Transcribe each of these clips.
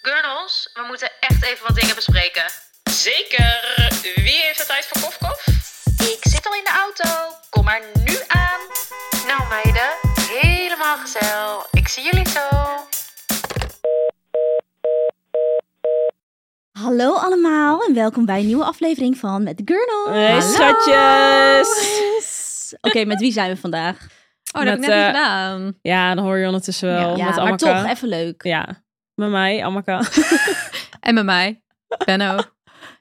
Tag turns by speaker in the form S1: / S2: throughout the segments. S1: Gurnels, we moeten echt even wat dingen bespreken.
S2: Zeker. Wie heeft de tijd voor kofkof?
S1: Ik zit al in de auto. Kom maar nu aan. Nou meiden, helemaal gezellig. Ik zie jullie zo.
S3: Hallo allemaal en welkom bij een nieuwe aflevering van Met de Gurnel.
S4: Hey schatjes!
S3: Oké, met wie zijn we vandaag?
S5: Oh, dat heb ik
S4: Met,
S5: net niet
S4: eh,
S5: gedaan.
S4: Ja, dan hoor je ondertussen wel.
S5: Ja,
S4: met
S3: ja, maar
S4: Amaka.
S3: toch, even leuk.
S4: Ja, met mij, Amaka.
S5: En met mij. Benno.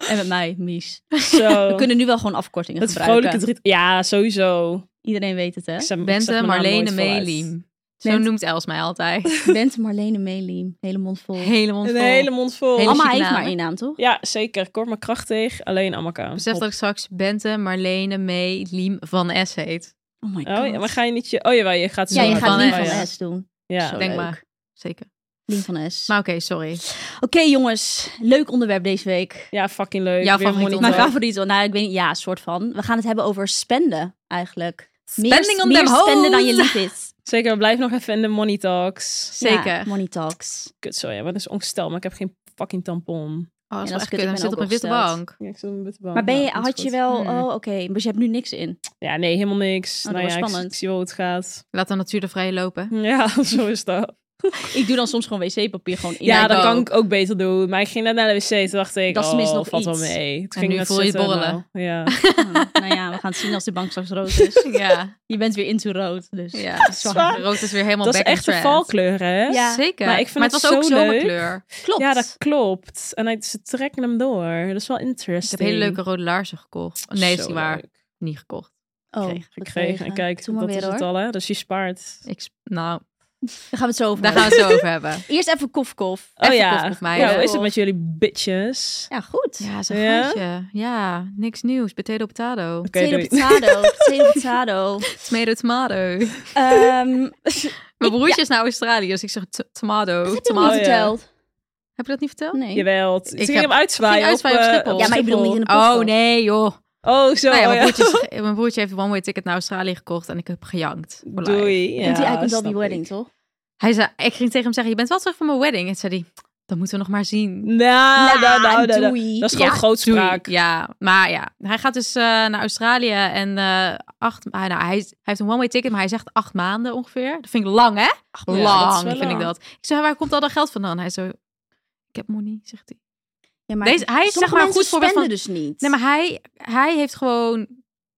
S3: En met mij, Mies.
S4: Zo.
S3: We kunnen nu wel gewoon afkortingen
S4: het
S3: gebruiken.
S4: vrolijke driet. Ja, sowieso.
S3: Iedereen weet het, hè?
S4: Ik zeg- ik zeg
S5: Bente,
S4: mijn naam nou
S5: Marlene,
S4: nooit voluit.
S5: Meliem. Zo
S3: Bent-
S5: noemt Els mij altijd.
S3: Bent Marlene Meeliem. Hele mond vol.
S5: Helemaal vol.
S4: Een hele mond vol.
S5: Hele-
S3: Mama
S5: chique
S3: heeft
S5: naam,
S3: maar
S5: hè?
S3: één naam, toch?
S4: Ja, zeker. Kort maar krachtig. Alleen Amaka.
S5: Besef
S4: Hop.
S5: dat ik straks Bente, Marlene, May, Liem van S heet.
S3: Oh my god.
S4: Oh, ja, maar ga je niet je... Oh, jawel, je gaat
S3: Ja, je
S4: zo
S3: gaat
S5: Van
S3: Lien
S5: S.
S4: Oh,
S3: van
S4: ja.
S3: S doen.
S4: Ja.
S3: Zo.
S5: Denk
S3: leuk.
S5: maar. Zeker.
S3: Lien van S.
S5: Maar oké, sorry.
S3: Oké jongens, leuk onderwerp deze week.
S4: ja, fucking leuk.
S5: Jouw
S4: Weer
S5: favoriete
S4: monitor.
S3: Mijn
S5: Onderwerp.
S3: favoriet, nou ik weet niet, ja, soort van. We gaan het hebben over spenden eigenlijk.
S5: Spending
S3: meer,
S5: on
S3: meer
S5: them
S3: spenden dan je
S5: hoes.
S3: lief is.
S4: Zeker, blijf nog even in de money talks.
S5: Zeker.
S3: Ja, money talks.
S4: Kut, sorry. Wat is ongestel, maar ik heb geen fucking tampon.
S5: Oh, dat
S3: Ja, dat
S5: is wel
S3: is
S5: echt
S3: kut.
S5: kut.
S3: Ik
S5: Hij
S3: ben
S5: zit
S3: ook
S5: op een witte
S3: opgesteld.
S5: bank.
S4: Ja, ik zat met de bank.
S3: Maar ben je,
S4: Ja, dat is
S3: had je
S4: goed.
S3: wel,
S5: Hmm.
S3: oh oké, dus je hebt nu niks in.
S4: Ja, nee, helemaal niks.
S3: Oh, dat
S4: nou
S3: was
S4: ja, ik-
S3: spannend.
S4: ik zie wel hoe het gaat.
S5: Laat de natuur er vrij lopen.
S4: Ja, zo is dat.
S3: Ik doe dan soms gewoon wc-papier gewoon in.
S4: Ja,
S3: mijn
S4: dat
S3: doos.
S4: kan ik ook beter doen. Maar ik ging net naar de wc. Toen dacht ik,
S3: Dat is
S4: dat is
S3: tenminste
S4: oh,
S3: nog
S4: nog valt wel
S3: iets.
S4: mee. Toen
S5: En
S4: ging
S5: nu
S4: ik
S5: voel
S4: net
S5: je het
S4: zitten,
S5: borrelen.
S4: nou, ja.
S3: Ah, nou ja, we gaan het zien als de bank straks rood is.
S5: Ja,
S3: Je bent weer into rood, dus.
S5: ja.
S4: Zwaar.
S5: Rood is weer helemaal
S4: Dat is
S5: back in
S4: echt een
S5: trend.
S4: valkleur, hè?
S3: Ja.
S5: Zeker.
S4: Maar ik vind
S5: het
S4: het
S5: was ook
S4: zo leuk.
S5: zomerkleur.
S3: Klopt.
S4: Ja, dat klopt. En hij, ze trekken hem door. Dat is wel
S5: Ik
S4: interesting.
S5: heb hele leuke rode laarzen gekocht. Nee, dat is
S4: Zo
S5: niet waar.
S4: leuk.
S5: Niet gekocht.
S3: oh,
S4: Gekregen, gekregen. En kijk,
S3: Doe maar
S4: dat
S3: weer
S4: is
S3: hoor.
S4: het al, hè? Dus je spaart.
S5: Ik, sp- nou,
S3: Daar gaan we het zo over
S5: daar gaan
S3: hebben.
S5: we het zo over hebben.
S3: Eerst even kof-kof.
S4: Oh
S5: Even
S4: ja.
S5: koffie op mij,
S4: Ja,
S5: hè?
S4: hoe is het met jullie bitches?
S3: Ja, goed.
S5: Ja, zo'n
S4: Ja?
S5: gaatje. Ja, niks nieuws. Potato, potato.
S4: Oké,
S3: Potato,
S4: doei.
S3: potato, potato, potato.
S5: Tomato, tomato.
S3: Ehm,
S5: Mijn broertje is naar Australië, dus ik zeg to- tomato.
S3: heb je me
S5: tomato.
S3: niet verteld?
S5: Heb je dat niet Mm, verteld?
S3: Nee.
S4: Jawel. Ik ging
S5: heb-
S4: hem uitzwaaien
S5: ging uitzwaaien op
S4: eh,
S5: Schiphol.
S3: Ja, maar ik bedoel niet in de podcast.
S5: Oh, nee, joh.
S4: Oh, zo.
S5: Nou ja, mijn,
S4: oh,
S5: broertje is- mijn broertje heeft een one-way ticket naar Australië gekocht en ik heb gejankt. voor life.
S4: Doei.
S3: Komt hij
S4: Ja,
S3: eigenlijk wel
S4: snap
S3: die
S4: ik.
S3: wedding, toch?
S5: Hij zei, ik ging tegen hem zeggen, je bent wel terug van mijn wedding. En zei hij, dat moeten we nog maar zien.
S4: Nou, nou, nou, nou, nou.
S3: doei.
S4: Dat is gewoon
S5: Ja,
S4: grootspraak.
S5: Doei. Ja, maar ja. Hij gaat dus eh, naar Australië en eh, acht... ah, nou, hij, hij heeft een one-way ticket, maar hij zegt acht maanden ongeveer. Dat vind ik lang, hè?
S4: maanden, dat
S5: lang,
S4: is wel
S5: vind
S4: lang.
S5: ik dat. Ik zei, waar komt al dat geld vandaan? Hij zo, ik heb money, zegt hij.
S3: Ja, maar
S5: Deze- hij is
S3: sommige
S5: zeg maar een
S3: mensen
S5: goed voorbeeld
S3: spenden dus niet.
S5: Nee, maar hij, hij heeft gewoon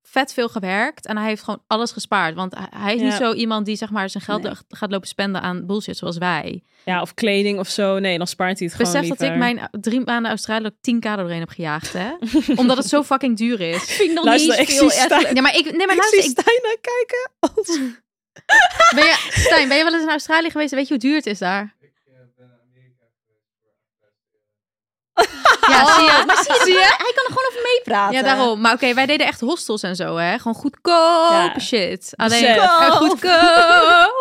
S5: vet veel gewerkt en hij heeft gewoon alles gespaard. Want hij- hij is niet
S4: Ja.
S5: zo iemand die zeg maar zijn geld
S3: Nee.
S5: gaat lopen spenden aan bullshit zoals wij.
S4: Ja, of kleding of zo. Nee, dan spaart hij het
S5: Besef
S4: gewoon
S5: dat ik
S4: liever.
S5: mijn drie maanden Australië 10k doorheen heb gejaagd, hè? Omdat het zo fucking duur is.
S3: vind ik nog
S4: Luister,
S3: niet
S4: ik
S3: eens veel.
S4: zie
S3: echt.
S4: Stijn,
S5: Nee, maar ik, nee, maar
S4: ik
S5: luister,
S4: zie
S5: ik
S4: Stijn naar kijken.
S5: Ben je, Stijn, ben je wel eens in Australië geweest? Weet je hoe duur het is daar? Ja, zie je?
S3: Maar zie je, dat- hij kan er gewoon over meepraten.
S5: Ja, daarom. Maar oké, wij deden echt hostels en zo, hè? Gewoon goedkoop
S4: Ja.
S5: shit. Alleen
S4: Besef.
S5: eh, goedkoop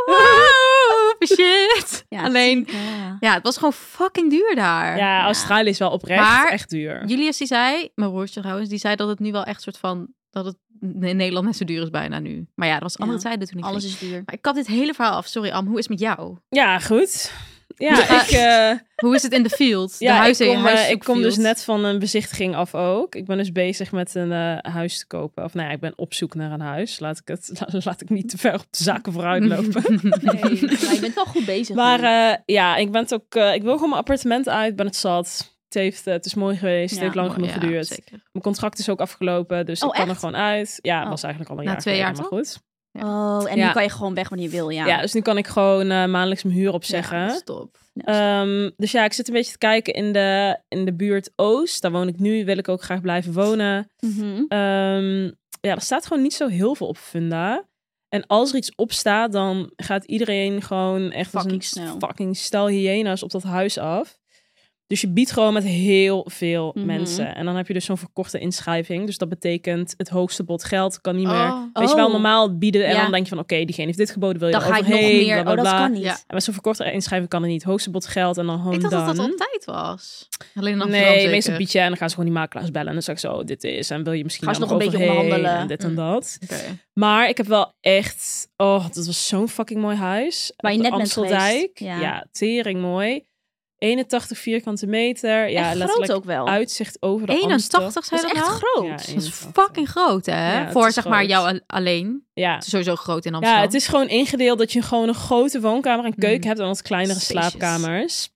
S5: shit.
S3: Ja,
S5: Alleen,
S3: Ja.
S5: ja, het was gewoon fucking duur daar.
S4: Ja, Australië is wel oprecht
S5: Maar-
S4: echt duur.
S5: Julius die zei, mijn broertje trouwens, die zei dat het nu wel echt soort van dat het in Nederland net zo duur is bijna nu. Maar ja, dat was andere
S3: Ja,
S5: tijden toen ik
S3: Alles
S5: ging.
S3: is duur.
S5: Maar ik had dit hele verhaal af. Sorry, Am, hoe is het met jou?
S4: Ja, goed. Ja,
S5: Ja.
S4: ik, eh,
S5: Hoe is het in de field? De
S4: ja,
S5: huis-
S4: ik kom, eh, ik
S5: huiszoekfield?
S4: kom dus net van een bezichtiging af ook. Ik ben dus bezig met een eh, huis te kopen. Of nou ja, ik ben op zoek naar een huis. Laat ik, het, la- laat ik niet te ver op de zaken vooruit lopen.
S3: Nee, maar je bent wel goed bezig.
S4: maar
S3: nu.
S4: eh, ja, ik, ben het ook, eh, ik wil gewoon mijn appartement uit. ben het zat. Het, heeft, eh, het is mooi geweest.
S3: Ja,
S4: het heeft lang genoeg
S5: Oh, Ja,
S4: geduurd.
S5: zeker.
S4: Mijn contract is ook afgelopen, dus
S3: Oh,
S4: ik kan er
S3: echt?
S4: gewoon uit. Ja,
S3: Oh.
S4: was eigenlijk al een
S5: Na
S4: jaar
S5: twee jaar,
S4: geleden, maar goed.
S3: oh, en
S4: ja.
S3: nu kan je gewoon weg wanneer je wil, ja.
S4: Ja. dus nu kan ik gewoon eh, maandelijks mijn huur opzeggen.
S5: Ja, dat is top.
S4: Ehm, dus ja, ik zit een beetje te kijken in de, in de buurt Oost. Daar woon ik nu, wil ik ook graag blijven wonen.
S3: Mhm.
S4: Ehm, ja, er staat gewoon niet zo heel veel op Funda. En als er iets op staat, dan gaat iedereen gewoon echt
S3: Fucking
S4: als
S3: snel.
S4: een fucking stel hyena's op dat huis af. Dus je biedt gewoon met heel veel
S3: Mhm.
S4: mensen. En dan heb je dus zo'n verkorte inschrijving. Dus dat betekent het hoogste bod geld kan niet meer.
S5: Oh.
S4: Weet je wel,
S3: Oh.
S4: normaal bieden en
S5: Ja.
S4: dan denk je van oké, diegene heeft dit geboden, wil je
S3: Dan
S4: er
S3: ga ik nog
S4: overheen,
S3: meer.
S4: bla, bla,
S3: Oh, dat
S4: bla.
S3: kan niet.
S5: Ja.
S4: En met zo'n verkorte inschrijving kan het niet. Hoogste bod geld en dan gewoon
S5: Ik dacht dat
S4: dan.
S5: dat altijd was. Alleen in Amsterdam
S4: Nee,
S5: zeker.
S4: meestal bied je en dan gaan ze gewoon die makelaars bellen. En dan zeg ik zo, dit is. En wil je misschien
S3: Gaan ze
S4: daar
S3: nog een beetje
S4: overheen
S3: onderhandelen.
S4: En dit en
S5: Mm.
S4: dat.
S5: Oké.
S4: Maar ik heb wel echt... Oh, dat was zo'n fucking mooi huis.
S3: Waar je
S4: Op de
S3: net bent geweest.
S4: Amsteldijk.
S3: Ja.
S4: Ja. tering mooi. 81 vierkante meter. Ja,
S3: Echt groot
S4: letterlijk
S3: ook wel.
S4: uitzicht over de
S3: Dat
S5: 81 zei
S3: is
S5: dat
S3: echt
S5: nou?
S3: groot.
S4: Ja,
S5: Dat is
S4: 81.
S5: fucking groot, hè?
S4: Ja, het
S5: Voor
S4: is
S5: zeg maar
S4: groot.
S5: jou al- alleen.
S4: Ja.
S5: Het is sowieso groot in Amsterdam.
S4: ja, het is gewoon ingedeeld dat je gewoon een grote woonkamer en keuken
S5: Mm.
S4: hebt en wat kleinere
S5: Spacious.
S4: slaapkamers.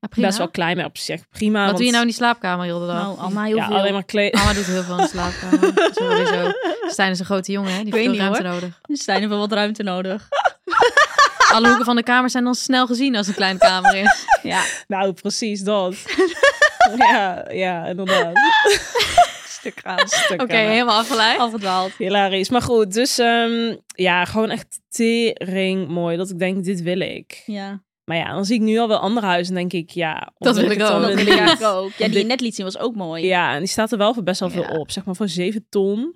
S5: Maar prima.
S4: Best wel klein, maar op zich prima.
S5: Wat
S4: want-
S5: doe je nou in die slaapkamer heel de dag?
S3: Nou, allemaal heel
S4: Ja,
S3: veel.
S4: alleen maar kleed.
S5: Mama doet heel veel in de slaapkamer. Sowieso. Stijn is een grote jongen, hè? Die heeft
S3: weet
S5: veel
S3: niet,
S5: ruimte nodig.
S3: Stijn heeft wel wat ruimte nodig.
S5: Alle hoeken van de kamer zijn dan snel gezien als een kleine kamer is.
S3: Ja,
S4: Nou, precies dat. ja, ja, inderdaad.
S3: stuk aan.
S4: Stukken.
S5: Oké, helemaal
S4: Oh,
S5: afgeleid.
S3: Afgedwaald.
S4: Hilarisch. Maar goed, dus ehm, ja, gewoon echt tering mooi. Dat ik denk, dit wil ik.
S3: Ja.
S4: Maar ja, dan zie ik nu al wel andere huizen en denk ik, ja.
S5: Dat wil
S4: omdat
S5: ik
S4: het
S5: ook.
S3: Dat
S4: dan een-
S3: wil ik eigenlijk ook. Ja, die je net liet zien was ook mooi.
S4: Ja, en die staat er wel voor best wel
S5: Ja.
S4: veel op. Zeg maar voor 7 ton.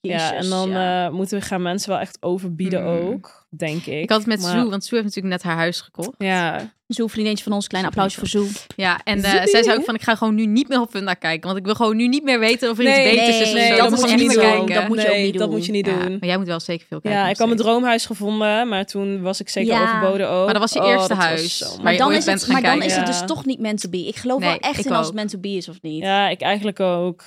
S4: ja,
S3: Jezus,
S4: en dan
S3: ja.
S4: eh, moeten we gaan mensen wel echt overbieden
S5: Mm.
S4: ook, denk ik.
S5: Ik had het met
S4: Maar-
S5: Sue, want Sue heeft natuurlijk net haar huis gekocht.
S4: Ja,
S3: Zoe, vriendinnetje van ons, klein applausje voor Zoe.
S5: Ja, en eh,
S4: Zoe.
S5: zij zei ook van, ik ga gewoon nu niet meer op Funda kijken. Want ik wil gewoon nu niet meer weten of er iets
S4: Nee,
S5: beters is. of
S3: nee,
S5: zo.
S3: dat
S5: moet
S3: moet
S5: ik
S3: je
S5: niet
S3: niet
S5: meer
S3: doen.
S5: kijken.
S3: Dat moet je ook
S4: Nee,
S3: niet
S4: dat
S3: doen.
S4: moet je niet
S5: Ja,
S4: doen.
S5: Maar jij moet wel zeker veel kijken. dus
S4: Ja,
S5: nog
S4: ik had mijn
S5: steeds.
S4: droomhuis gevonden, maar toen was ik zeker
S3: Ja.
S4: overboden ook.
S5: Maar dat was je
S4: Oh,
S5: eerste
S4: was
S5: huis.
S4: zo
S5: Maar je
S3: dan,
S5: ooit
S3: is
S5: bent
S3: het,
S5: gaan
S3: maar dan
S5: kijken.
S3: is het dus
S4: Ja.
S3: toch niet meant to be. Ik geloof
S5: Nee,
S3: wel echt
S5: ik
S3: in als
S5: ook.
S3: het meant to be is of niet.
S4: Ja, ik eigenlijk ook.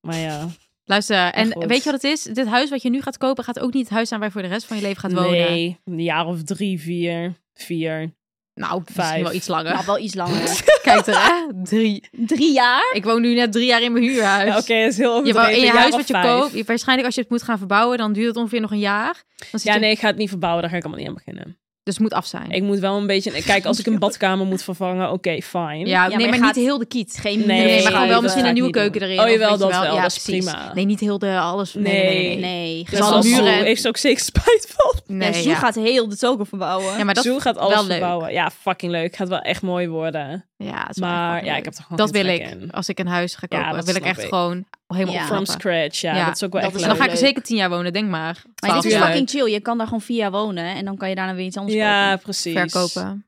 S4: Maar ja.
S5: Luister, en
S4: goed.
S5: weet je wat het is? Dit huis wat je nu gaat kopen gaat ook niet het huis zijn waar je voor de rest van je leven gaat wonen.
S4: Nee, een jaar of drie, vier. Vier.
S5: Nou, misschien
S4: Vijf.
S5: wel iets langer.
S3: Nou, wel iets langer.
S5: Kijk er, hè? Drie.
S3: Drie jaar?
S5: Ik woon nu net drie jaar in mijn huurhuis.
S4: Ja, Oké, dat is heel
S5: Je
S4: overdreven.
S5: wou, in je
S4: Een
S5: huis
S4: jaar
S5: wat je
S4: of vijf.
S5: koopt, je- waarschijnlijk als je het moet gaan verbouwen, dan duurt het ongeveer nog een jaar. Dan zit
S4: Ja,
S5: je-
S4: nee, ik ga het niet verbouwen. Daar ga ik allemaal niet aan beginnen.
S5: Dus het moet af zijn.
S4: Ik moet wel een beetje... Kijk, als ik een badkamer moet vervangen, oké, fine.
S5: ja,
S3: maar
S5: nee,
S3: je
S5: maar
S3: gaat-
S5: niet heel de kiet.
S3: Geen
S4: Nee,
S5: Nee,
S3: minimum.
S5: maar gewoon wel
S4: dat
S5: misschien
S4: ga
S5: een
S4: ik
S5: nieuwe
S4: niet doen.
S5: keuken erin.
S4: Oh,
S5: of
S4: jawel,
S5: weet je
S4: dat wel,
S5: Ja,
S4: dat is
S5: precies.
S4: prima.
S5: Nee, niet heel de alles. Nee, nee, nee. nee, nee.
S3: Nee,
S4: Dus
S5: Zal
S3: gewoon
S5: alle
S4: als
S5: muren
S4: Zoe
S5: en-
S4: heeft ze ook zeker spijt van.
S5: Nee,
S3: ja, Zoe
S5: ja.
S3: gaat heel de toko verbouwen.
S5: Ja, maar dat,
S4: Zoe gaat
S5: wel
S4: alles
S5: leuk.
S4: verbouwen. Ja, fucking leuk. Gaat wel echt mooi worden.
S5: ja, het is wel echt
S4: Maar
S5: fucking
S4: ja,
S5: leuk.
S4: ik heb er gewoon
S5: Dat
S4: geen
S5: wil ik.
S4: trek in.
S5: Als ik een huis ga
S4: Ja,
S5: kopen,
S4: dat
S5: wil ik
S4: snap
S5: echt
S4: ik.
S5: gewoon helemaal
S3: Ja.
S4: From
S5: opknappen.
S4: scratch, ja,
S5: Ja,
S4: Dat is ook wel
S3: dat
S4: echt
S3: is
S5: En
S4: leuk.
S5: dan ga ik
S3: leuk.
S5: er zeker tien jaar wonen, denk maar.
S3: Maar dit is
S4: Tuurlijk.
S3: fucking chill. Je kan daar gewoon vier jaar wonen en dan kan je daarna weer iets anders
S4: Ja,
S3: kopen.
S4: precies.
S5: verkopen.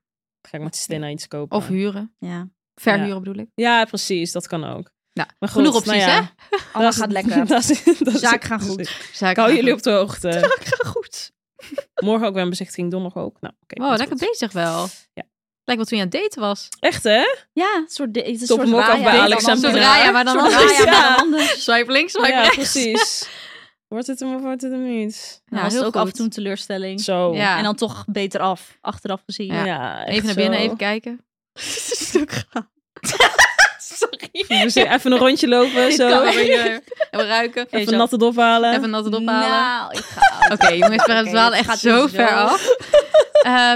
S4: Ga ik met Stina iets kopen.
S5: Of huren.
S3: Ja,
S5: Verhuren bedoel ik.
S4: Ja, precies. Dat kan ook.
S5: Nou,
S4: maar
S5: genoeg opties,
S4: nou ja,
S5: hè?
S3: alles
S4: dat-
S3: gaat lekker.
S4: dat is- dat is-
S3: Zaak gaan goed.
S5: Zou
S4: Ik hou jullie op de hoogte.
S5: goed.
S4: Morgen ook weer een bezichtiging, donderdag ook. Nou, oké.
S5: Wow,
S4: komt
S5: Oh, lekker
S4: goed.
S5: bezig wel.
S4: Ja.
S5: Lijkt wel toen je aan het daten was.
S4: Echt, hè?
S3: Ja, een soort, het is een
S4: Top
S3: soort
S4: hem ook af
S3: Raya,
S4: bij
S3: maar dan
S4: Alex en
S3: anders.
S5: Zo'n
S4: Pilar.
S5: Raya, maar dan
S3: Een soort
S5: anders.
S3: Raya, maar
S4: Ja.
S3: dan anders.
S5: Swipe links, swipe
S4: ja,
S5: rechts.
S4: precies. Wordt het hem of wordt het hem niet?
S5: Ja,
S3: Nou, dat is
S5: heel
S3: ook
S5: goed.
S3: af en toe een teleurstelling.
S4: Zo.
S5: Ja.
S3: En dan toch beter af, achteraf gezien.
S5: Ja.
S4: echt
S5: Even naar binnen,
S4: zo.
S5: even kijken. Sorry.
S4: We zullen even een rondje lopen,
S5: Zo.
S4: zo.
S5: eh, Even, ruiken.
S4: Even natte dop halen.
S5: Even natte dop halen.
S3: Nou, ik ga
S5: Oké, jongens, we
S3: Oké,
S5: het dwalen
S3: het
S5: echt
S3: gaat
S5: zo
S3: hier zo.
S5: ver af. Eh,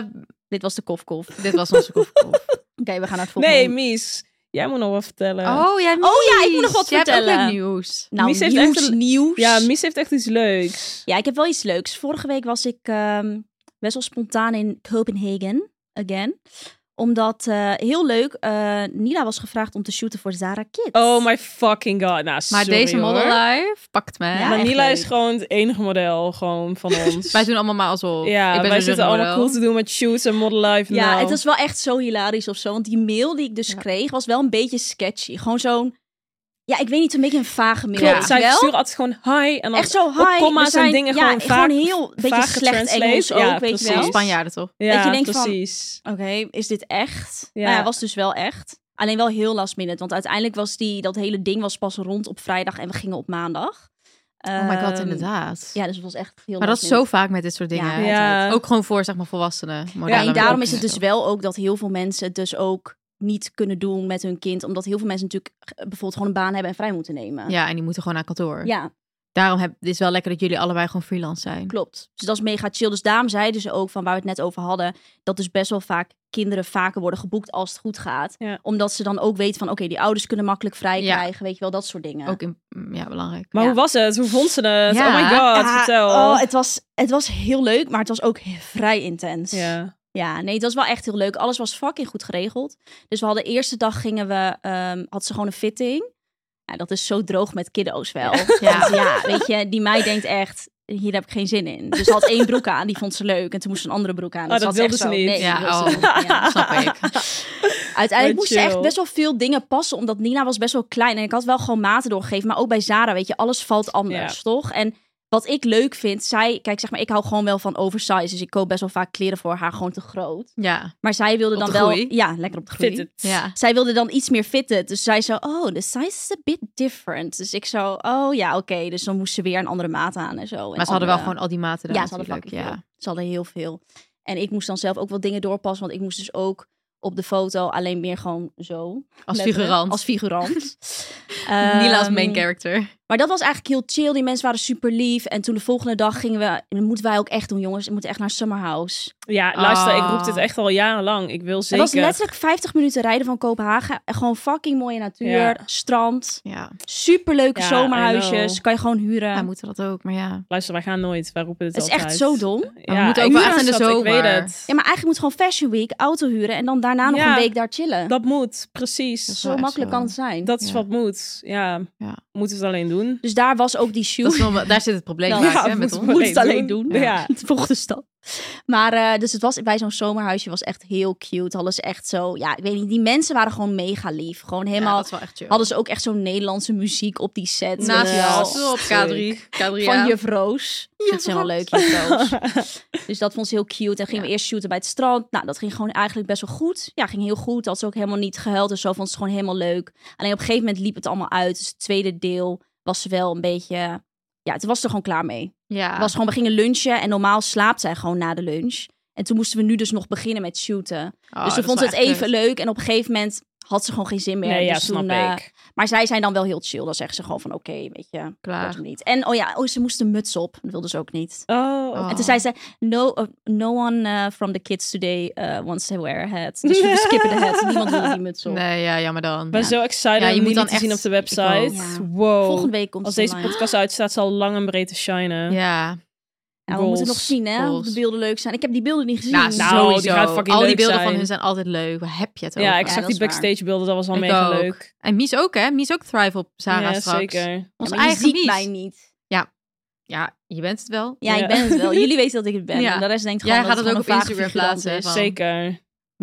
S3: Dit was de kofkof. Oké,
S5: dit was onze kofferkop.
S3: we gaan naar het volgende.
S4: Nee, Mies. Jij moet nog wat vertellen.
S5: Oh, jij
S3: Oh ja, ik moet nog
S5: nieuws.
S3: wat
S5: Jij hebt ook
S3: vertellen.
S5: leuk nieuws.
S3: Nou,
S4: Mies heeft
S3: nieuws,
S4: echt een-
S3: nieuws.
S4: Ja, Mies heeft echt iets leuks.
S3: Ja, ik heb wel iets leuks. Vorige week was ik ehm, best wel spontaan in Copenhagen. Again. Omdat, eh, heel leuk, eh Nila was gevraagd om te shooten voor Zara Kids.
S4: Oh my fucking god. Nou,
S5: Maar
S4: sorry,
S5: deze model eh,
S4: hoor.
S5: life pakt me.
S3: Ja,
S5: Wij
S3: echt
S4: Manila is
S3: leuk.
S4: gewoon het enige model gewoon van ons.
S5: doen allemaal maar alsof.
S4: ja,
S5: ik ben
S4: wij
S5: een
S4: zitten allemaal
S5: rugmodel.
S4: cool te doen met shoots en model life.
S3: Ja,
S4: nou.
S3: het was wel echt zo hilarisch of zo. Want die mail die ik dus
S5: Ja.
S3: kreeg was wel een beetje sketchy. Gewoon zo'n, ja, ik weet niet, een beetje een vage mail.
S4: Klopt,
S5: Ja.
S4: zij
S3: wel?
S4: sturen altijd gewoon hi en dan
S3: Echt zo, hi,
S4: op
S3: we
S4: comma's
S3: zijn,
S4: en dingen
S3: ja,
S4: gewoon vaak.
S3: heel, beetje
S4: vaag
S3: slecht
S4: getranslate.
S3: Engels ook,
S4: Ja,
S3: weet je
S4: precies.
S3: wel.
S5: Allemaal Spanjaarden toch?
S4: ja,
S3: dat je denkt van-
S4: precies.
S3: Oké, is dit echt?
S4: Ja.
S3: Ja. Nou ja, was dus wel echt. Alleen wel heel last minute. Want uiteindelijk was die, dat hele ding was pas rond op vrijdag en we gingen op maandag.
S5: Oh my god,
S3: Ehm,
S5: inderdaad.
S3: Ja, dus het was echt heel
S5: maar dat
S3: last
S5: is
S3: minute.
S5: zo vaak met dit soort dingen.
S3: Ja,
S4: Ja.
S5: Ook gewoon voor zeg maar volwassenen.
S4: Ja,
S3: en
S5: modellen.
S3: daarom is het dus wel ook dat heel veel mensen het dus ook niet kunnen doen met hun kind. Omdat heel veel mensen natuurlijk eh, bijvoorbeeld gewoon een baan hebben en vrij moeten nemen.
S5: Ja, en die moeten gewoon naar kantoor.
S3: Ja,
S5: Daarom heb, het is wel lekker dat jullie allebei gewoon freelance zijn.
S3: klopt. Dus dat is mega chill. Dus daarom zeiden ze ook, van waar we het net over hadden, dat dus best wel vaak kinderen vaker worden geboekt als het goed gaat.
S4: Ja.
S3: Omdat ze dan ook weten van, oké, die ouders kunnen makkelijk vrij
S5: Ja.
S3: krijgen. Weet je wel, dat soort dingen.
S5: Ook in, mm, ja, belangrijk.
S4: Maar
S3: Ja.
S4: hoe was het? Hoe vond ze het?
S5: Ja.
S4: Oh my god,
S3: Ja,
S4: vertel.
S3: Oh, het, was, het was heel leuk, maar het was ook he- vrij intens.
S4: ja.
S3: Ja, nee, het was wel echt heel leuk. Alles was fucking goed geregeld. Dus we hadden de eerste dag gingen we, ehm, had ze gewoon een fitting. Ja, dat is zo droog met kiddo's wel.
S5: Ja.
S3: Want ja, weet je, die meid denkt echt, hier heb ik geen zin in. Dus ze had één broek aan, die vond ze leuk. En toen moest ze een andere broek aan.
S4: Oh,
S3: Dus
S4: dat
S3: ze had
S4: wilde
S3: echt
S4: ze
S3: zo,
S4: niet.
S3: Nee,
S5: Ja,
S3: dat wilde ze
S5: oh.
S3: niet, ja.
S5: Snap ik.
S3: Uiteindelijk
S4: Maar
S3: moest ze echt
S4: chill.
S3: best wel veel dingen passen. Omdat Nina was best wel klein. En ik had wel gewoon maten doorgegeven. Maar ook bij Zara, weet je, alles valt anders, toch? En wat ik leuk vind, zij, kijk, zeg maar, ik hou gewoon wel van oversize. Dus ik koop best wel vaak kleren voor haar gewoon te groot.
S5: Ja.
S3: Maar zij wilde
S5: Op
S3: dan
S5: de
S3: wel.
S5: groei.
S3: Ja, lekker op de groei.
S4: Fit it.
S5: Ja.
S3: Zij wilde dan iets meer fitted. Dus zij zo, oh, de size is a bit different. Dus ik zo, oh ja, oké. Dus dan moest ze weer een andere maat aan en zo. En
S5: Maar ze hadden wel
S3: andere-
S5: gewoon al die maten daar
S3: Ja, ze hadden
S5: natuurlijk,
S3: fucking
S5: ja.
S3: veel. Ze hadden heel veel. En ik moest dan zelf ook wat dingen doorpassen. Want ik moest dus ook op de foto alleen meer gewoon zo.
S5: Als
S3: letterlijk,
S5: figurant.
S3: Als figurant.
S5: Nila als
S3: Ehm,
S5: main character.
S3: Maar dat was eigenlijk heel chill. Die mensen waren super lief. En toen de volgende dag gingen we... Dat moeten wij ook echt doen, jongens. We moeten echt naar Summerhouse.
S4: Ja, luister, ik roep
S5: Ah.
S4: dit echt al jarenlang. Ik wil
S3: Het
S4: zeker...
S3: was letterlijk 50 minuten rijden van Kopenhagen. En Gewoon fucking mooie natuur.
S4: Ja.
S3: Strand.
S5: Ja,
S3: Superleuke
S4: Ja, I
S3: zomerhuisjes.
S4: know.
S3: Kan je gewoon huren.
S5: wij moeten dat ook, maar ja.
S4: Luister, wij gaan nooit. Wij roepen dit
S3: het is
S4: altijd.
S3: echt zo dom.
S4: Ja,
S5: we moeten
S4: ik
S5: ook wel
S4: moet
S5: echt in de
S4: aan zat, Ik weet
S5: zomer.
S4: het.
S3: Ja, maar eigenlijk moet gewoon Fashion Week auto huren. En dan daarna nog
S4: Ja.
S3: een week daar chillen.
S4: Dat moet, precies.
S5: Dat is
S3: zo
S5: wel echt
S3: makkelijk
S5: zo.
S3: kan het zijn.
S4: Dat is
S5: Ja.
S4: wat moet. Ja,
S5: Ja.
S4: moeten we het alleen doen.
S3: Dus daar was ook die shoe.
S5: Dat is wel- daar zit het probleem
S3: Ja,
S5: vaak, hè,
S4: moeten
S5: met
S4: we
S5: ons.
S3: Moet het alleen doen.
S4: Ja.
S3: Het volgende stap. Maar eh, dus het was bij zo'n zomerhuisje was echt heel cute. Hadden ze echt zo, ja, ik weet niet. Die mensen waren gewoon mega lief. Gewoon
S5: Ja,
S3: helemaal.
S5: dat is wel echt chill.
S3: hadden ze ook echt zo'n Nederlandse muziek op die set.
S5: Naast
S3: Weet je wel.
S5: jou op K3. K3
S3: Van
S5: ja.
S3: Juf Roos. Dus dat is helemaal leuk, Juf Roos. dus dat vond ze heel cute. En gingen we eerst shooten bij het strand. Nou, dat ging gewoon eigenlijk best wel goed. Ja, ging heel goed. Had ze ook helemaal niet gehuild. Dus zo vond ze het gewoon helemaal leuk. Alleen op een gegeven moment liep het allemaal uit. Dus het tweede deel was ze wel een beetje... Ja, toen was ze er gewoon klaar mee.
S5: ja. Oh,
S3: Het was gewoon, we gingen lunchen. En normaal slaapt zij gewoon na de lunch. En toen moesten we nu dus nog beginnen met shooten. dus
S5: Oh, dat
S3: ze
S5: is
S3: vond
S5: wel
S3: het
S5: echt
S3: even
S5: kut.
S3: leuk. En op een gegeven moment had ze gewoon geen zin meer.
S4: Nee, ja,
S3: Dus
S4: snap
S3: toen, eh,
S4: ik.
S3: Maar zij zijn dan wel heel chill. Dan zeggen ze gewoon van, oké, weet je... Dat
S5: Klaar.
S3: hem niet. En oh ja, oh, ze moest een muts op. Dat wilde ze ook niet.
S4: Oh,
S5: Oh.
S4: oké.
S3: En toen zei ze, no, uh, no one eh, from the kids today eh, wants to wear a hat. Dus we skippen de hat. Niemand wilde die muts op.
S5: Nee, ja, jammer dan.
S4: ik ben
S5: Ja.
S4: zo excited
S5: Ja, je
S4: om
S5: moet
S4: jullie
S5: dan
S4: te
S5: echt-
S4: zien op de
S5: ik
S4: website.
S3: ook.
S4: Wow.
S3: Volgende week komt
S4: Als
S3: ze
S4: deze
S3: online.
S4: podcast uitstaat, zal lang en breed te shinen.
S5: Ja.
S3: Ja, we moeten het nog
S4: Goals,
S3: zien, hè? Of de
S5: goals.
S3: beelden leuk zijn. Ik heb die beelden niet gezien.
S5: Nou,
S4: Nou,
S5: sowieso.
S4: die gaat fucking
S5: Al die
S4: leuk
S5: beelden
S4: zijn.
S5: van hun zijn altijd leuk. Waar heb je het over?
S4: Ja,
S3: Ja,
S4: ik zag
S3: dat
S4: die
S3: is waar.
S4: backstage beelden. Dat was al
S5: Ik
S4: mega
S5: ook.
S4: leuk.
S5: En Mies ook, hè? Mies ook Thrive op Sarah
S4: ja,
S5: straks.
S4: zeker.
S5: Ons
S3: Ja, maar je
S5: eigen
S3: ziet
S5: Mies.
S3: mij niet.
S5: Ja, je bent het wel.
S3: Ja, ik
S4: Ja.
S3: ben het wel. Jullie weten dat ik het ben.
S5: Ja.
S3: En de rest denkt
S5: Jij
S3: gewoon
S5: gaat
S3: dat
S5: het ook op
S3: gewoon een vage
S5: Instagram
S3: figurant
S5: plaatsen,
S3: is.
S5: van-
S4: Zeker.
S3: Ja,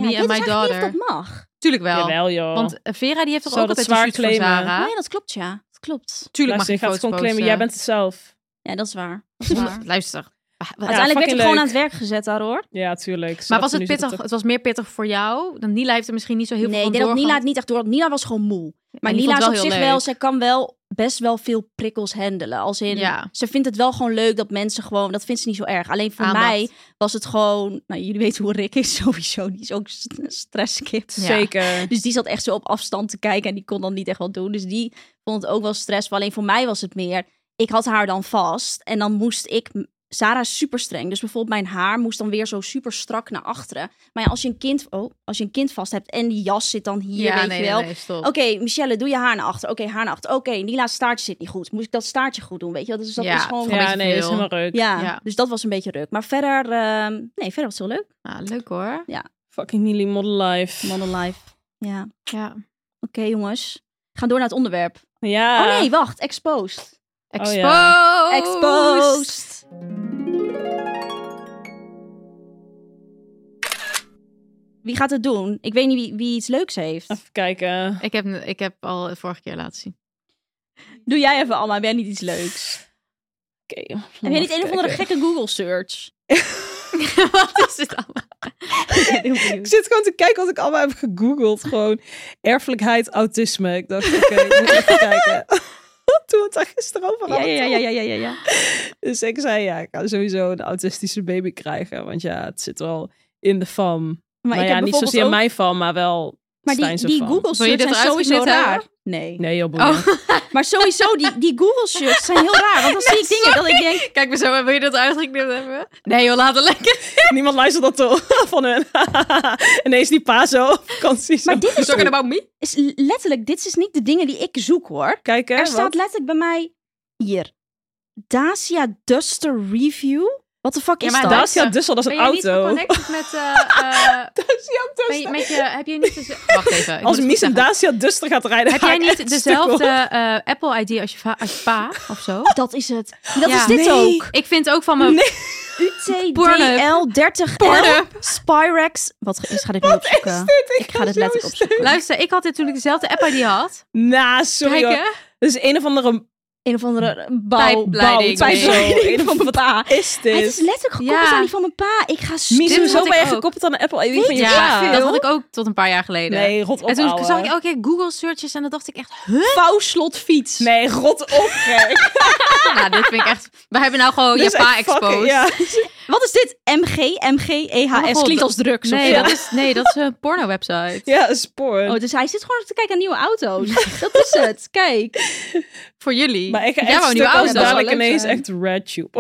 S5: Me
S3: ik weet
S5: and my
S3: dus eigenlijk
S5: daughter.
S3: niet of dat mag.
S5: Tuurlijk wel.
S4: Jawel, joh.
S5: Want eh, Vera die heeft toch
S4: Zou
S5: ook
S4: Oh. dat
S5: altijd een
S4: zwaar
S5: shoot voor
S4: claimen?
S5: Sarah?
S3: Nee, dat klopt, ja. Dat klopt.
S5: Tuurlijk
S4: Luister,
S5: mag je
S4: ik ga het
S5: foto's
S4: gewoon
S5: posten.
S4: claimen. Jij bent het zelf.
S3: Ja, dat is waar. Dat is waar.
S5: Omdat- Luister. Ah, Maar-
S3: Uiteindelijk werd ik
S4: fucking
S3: gewoon
S4: leuk.
S3: aan het werk gezet daar, hoor.
S4: Ja, tuurlijk. Ze
S5: Maar was
S4: dachten,
S5: het
S4: nu zit
S5: pittig? Het was meer pittig voor jou. Dan Nila heeft er misschien niet zo heel
S3: nee,
S5: veel
S3: ik
S5: van
S3: denk dat Nila het
S5: doorgehad.
S3: niet echt door had. Nila was gewoon moe. Maar
S5: En die
S3: Nila is
S5: vond
S3: op
S5: het
S3: zich
S5: heel
S3: wel,
S5: leuk.
S3: zij kan wel best wel veel prikkels handelen. Als in,
S5: Ja.
S3: ze vindt het wel gewoon leuk dat mensen gewoon, dat vindt ze niet zo erg. Alleen voor
S5: Aandacht.
S3: mij was het gewoon, nou jullie weten hoe Rick is sowieso, die is ook st- stresskip.
S5: Ja.
S4: Zeker.
S3: Dus die zat echt zo op afstand te kijken en die kon dan niet echt wat doen. Dus die vond het ook wel stressvol. Alleen voor mij was het meer, ik had haar dan vast en dan moest ik... Sarah is super streng, dus bijvoorbeeld mijn haar moest dan weer zo super strak naar achteren. Maar ja, als je een kind, oh, als je een kind vast hebt en die jas zit dan hier,
S5: Ja,
S3: weet
S5: nee,
S3: je
S5: nee,
S3: wel.
S5: nee, stop.
S3: Oké, Michelle, doe je haar naar achter. Oké, haar naar achter. Oké, Nila's staartje zit niet goed. Moet ik dat staartje goed doen, weet je wel? Dus dat
S5: Ja,
S3: is gewoon...
S5: gewoon
S3: Ja,
S4: Ja,
S5: beetje
S4: nee, dat is
S5: veel.
S4: helemaal leuk.
S5: Ja.
S3: dus dat was een beetje ruk. Maar verder, ehm, nee, verder was het wel leuk.
S5: Ah, leuk hoor.
S4: Fucking Nili Model Life.
S3: Model life. Ja, oké
S5: Ja.
S3: jongens. We gaan door naar het onderwerp.
S4: Ja.
S3: Oh nee, wacht. Exposed.
S4: Oh,
S5: Exposed.
S3: Exposed. Wie gaat het doen? Ik weet niet wie, wie iets leuks heeft.
S4: Even kijken.
S5: Ik heb, ik heb al de vorige keer laten zien.
S3: Doe jij even, Alma. Heb jij niet iets leuks?
S4: Oké.
S3: Heb jij niet een of andere gekke Google search?
S5: Wat is dit allemaal?
S4: Ik zit gewoon te kijken wat ik allemaal heb gegoogeld. Gewoon erfelijkheid, autisme. Ik dacht, oké, ik moet even kijken. Toen we het daar gisteren over
S3: Ja,
S4: hadden.
S3: ja, ja, ja, ja, ja, ja.
S4: Dus ik zei, ja, ik ga sowieso een autistische baby krijgen. Want ja, het zit wel in de fam. Maar,
S3: Maar, ik
S4: Nou ja,
S3: heb
S4: niet zozeer
S3: bijvoorbeeld ook-
S4: mijn fam, maar wel
S3: Maar die,
S4: Stijn's
S3: die
S4: fam.
S3: Google
S5: Wil je
S3: search
S5: dit
S3: zijn
S5: eruit
S3: sowieso
S5: geknipt
S3: raar.
S5: hebben?
S3: Nee.
S4: Nee, joh, boeien.
S5: Oh,
S3: Maar sowieso, die, die Google search zijn heel raar. Want dan zie ik dingen dat ik denk...
S5: kijk me zo. aan. Wil je dat uitgeknipt hebben? Nee joh, laat het lekker.
S4: Niemand luistert dat toch van hun. Ineens die Paso op vakantie. zo.
S3: Maar dit is,
S5: Talking about me?
S3: is letterlijk... Dit is niet de dingen die ik zoek, hoor.
S4: Kijken,
S3: Er
S4: wat?
S3: staat letterlijk bij mij... Hier. Dacia Duster Review? Wat de fuck
S5: Ja,
S3: is
S5: maar
S3: dat?
S5: dat-
S4: Dacia Dussel, dat is een auto.
S5: geconnected met... eh, eh,
S4: Dacia
S5: met je- met je, heb je niet... de- Wacht even. ik moet
S4: Als
S5: het
S4: Mies
S5: goed
S4: en
S5: zeggen.
S4: Dacia Duster gaat rijden,
S5: Heb
S4: ga
S5: jij
S4: ik
S5: niet
S4: echt stuk worden.
S5: dezelfde eh, Apple ID als je, va- als je pa of zo?
S3: Dat is het. Dat
S5: Ja.
S3: is dit
S4: Nee.
S3: ook.
S5: Ik vind ook van mijn...
S3: UTDL30L
S5: Pornhub.
S3: Spyrex. Wat ge- is, ga dit nu opzoeken? Ik ga dit letterlijk opzoeken.
S5: Luister, ik had dit toen ik dezelfde Apple ID had.
S4: Nou, sorry
S5: Kijk
S4: hoor.
S5: hè.
S4: Dus een of andere
S3: een of andere bouw,
S5: Pijpleiding.
S3: bouw- pijpleiding
S4: Zo,
S3: van mijn pa.
S4: Is dit?
S3: Het is letterlijk gekoppeld
S5: Ja.
S3: aan die van mijn pa. Ik ga
S5: Mis-
S3: stuk.
S5: Dit
S4: Miso, zo
S5: had ik
S4: ben je
S5: ook.
S4: gekoppeld aan de Apple ID van je
S5: ja,
S4: pa.
S5: dat had ik ook tot een paar jaar geleden.
S4: Nee, rot op,
S5: en toen
S4: ouwe.
S5: zag ik elke keer Google searches en dan dacht ik echt, huh?
S3: vouwslot fiets.
S4: Nee, rot op, gek.
S5: Ja, dit vind ik echt... We hebben nou gewoon
S4: Dit is
S5: je pa
S4: Dus echt fucking-
S5: exposed.
S4: ja.
S3: Wat is dit? MG, MG,
S5: Oh mijn
S3: EHS.
S5: god,
S3: E Klinkt als drugs. of
S5: nee,
S3: zo.
S5: dat is, nee, dat is een porno website.
S4: ja, spoor.
S3: Oh, dus hij zit gewoon te kijken aan nieuwe auto's. dat is het. Kijk.
S5: Voor jullie.
S4: maar ik ga
S5: Jij
S4: echt
S5: wou een
S4: stuk
S5: nieuwe
S4: als
S5: auto.
S3: zou
S4: dadelijk
S3: leuk
S4: ineens
S3: zijn.
S4: echt RedTube.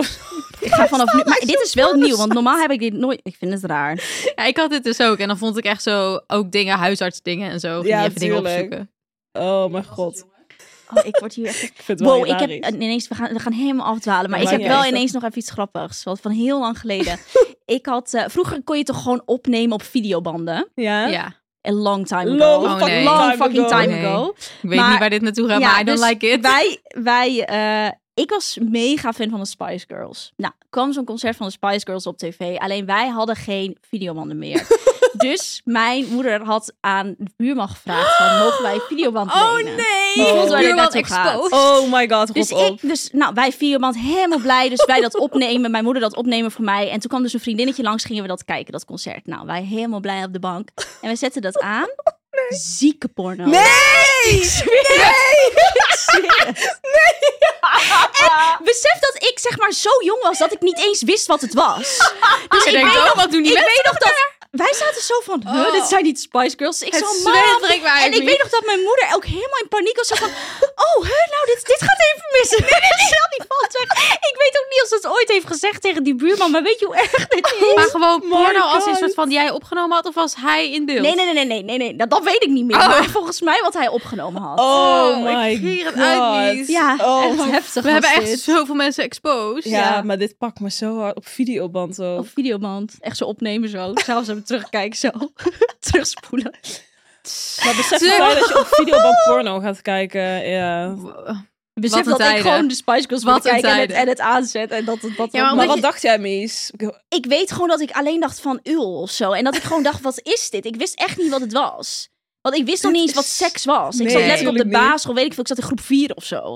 S3: Ik ga vanaf nu. Maar dit is wel nieuw, want normaal heb ik dit nooit. Ik vind het raar.
S5: Ja, ik had dit dus ook. En dan vond ik echt zo ook dingen, huisartsdingen en zo. Ging
S4: Ja,
S5: ja, even dingen
S4: tuurlijk.
S5: opzoeken.
S4: Oh mijn god.
S3: Oh, ik word hier echt
S4: Ik vind het wel
S3: Wow, ik heb
S4: hilarisch.
S3: eh, ineens, we gaan, we gaan helemaal afdwalen. Maar
S4: Ja,
S3: ik heb
S4: maakt niet
S3: wel
S4: uit.
S3: ineens nog even iets grappigs. Wat van heel lang geleden. ik had, eh, vroeger kon je toch gewoon opnemen op videobanden?
S4: Ja?
S5: Ja.
S3: A long time ago.
S4: Long,
S5: Oh, nee.
S4: fucking
S3: Long
S4: time
S3: fucking
S4: ago.
S3: time
S5: Nee.
S3: ago.
S5: Ik weet
S3: Maar-
S5: niet waar dit naartoe gaat, maar I don't
S3: dus
S5: like it.
S3: Wij, wij, eh, ik was mega fan van de Spice Girls. Nou, kwam zo'n concert van de Spice Girls op tv. Alleen wij hadden geen videobanden meer. dus mijn moeder had aan de buurman gevraagd van, mogen wij videobanden lenen?
S5: nee.
S3: Oh,
S5: nou,
S3: Ik vond waar dit
S5: Buurman
S3: naartoe gaat.
S5: exposed.
S4: Oh my god, rot
S3: Dus
S4: op.
S3: ik, dus, nou, wij videoband helemaal blij. Dus wij dat opnemen, mijn moeder dat opnemen voor mij. En toen kwam dus een vriendinnetje langs, gingen we dat kijken, dat concert. Nou, wij helemaal blij op de bank. En we zetten dat aan. Zieke porno.
S4: Nee!
S3: Besef dat ik zeg maar zo jong was dat ik niet eens wist wat het was. Dus
S5: Je
S3: ik
S5: denkt,
S3: weet
S5: oh,
S3: nog,
S5: wat doen die
S3: ik
S5: mensen
S3: weet nog dat wij zaten zo van, huh,
S5: Oh.
S3: dit zijn niet Spice Girls. Ik
S5: Het
S3: zo,
S5: zweet
S3: mam.
S5: breekt me uit
S3: En ik
S5: niet.
S3: weet nog dat mijn moeder ook helemaal in paniek was. Zo van, oh, huh, nou, dit, dit gaat even missen. dit is wel niet vast weg. Ik weet ook niet of ze het ooit heeft gezegd tegen die buurman, maar weet je hoe erg dit is?
S5: Maar gewoon porno als een
S4: God.
S5: soort van die jij opgenomen had of was hij in beeld?
S3: Nee, nee, nee, nee, nee, nee, nee. Dat, dat weet ik niet meer.
S5: Oh.
S3: Maar volgens mij wat hij opgenomen had.
S4: Oh
S5: Oh,
S4: my
S5: ik gier het
S4: god.
S5: uit niet.
S3: ja,
S4: oh
S3: echt
S4: my-
S3: heftig
S5: We hebben
S3: was
S5: echt
S3: dit.
S5: zoveel mensen exposed.
S4: Ja, maar dit pakt me zo hard op videoband ook.
S3: Of videoband. Echt zo opnemen zo. S'avonds even terugkijken zo. Terugspoelen.
S4: Maar besef
S5: Zo.
S4: wel dat je op videoband porno gaat kijken. Ja.
S3: Besef
S5: een
S3: dat ik
S5: tijden.
S3: gewoon de Spice Girls
S5: Wat
S3: wil
S5: een
S3: kijken en het,
S5: tijden.
S3: en het aanzet. En dat, dat, dat
S5: Ja, maar
S3: ook-
S4: Maar
S5: omdat
S4: wat
S5: je-
S4: dacht jij, Mies?
S3: Ik weet gewoon dat ik alleen dacht van ul of zo. En dat ik gewoon dacht, wat is dit? Ik wist echt niet wat het was. Want ik wist nog
S4: Dit
S3: niet eens wat
S4: is-
S3: seks was. ik
S4: Nee,
S3: zat letterlijk op de
S4: natuurlijk niet.
S3: basisschool. Weet ik veel, ik zat in groep 4 of zo.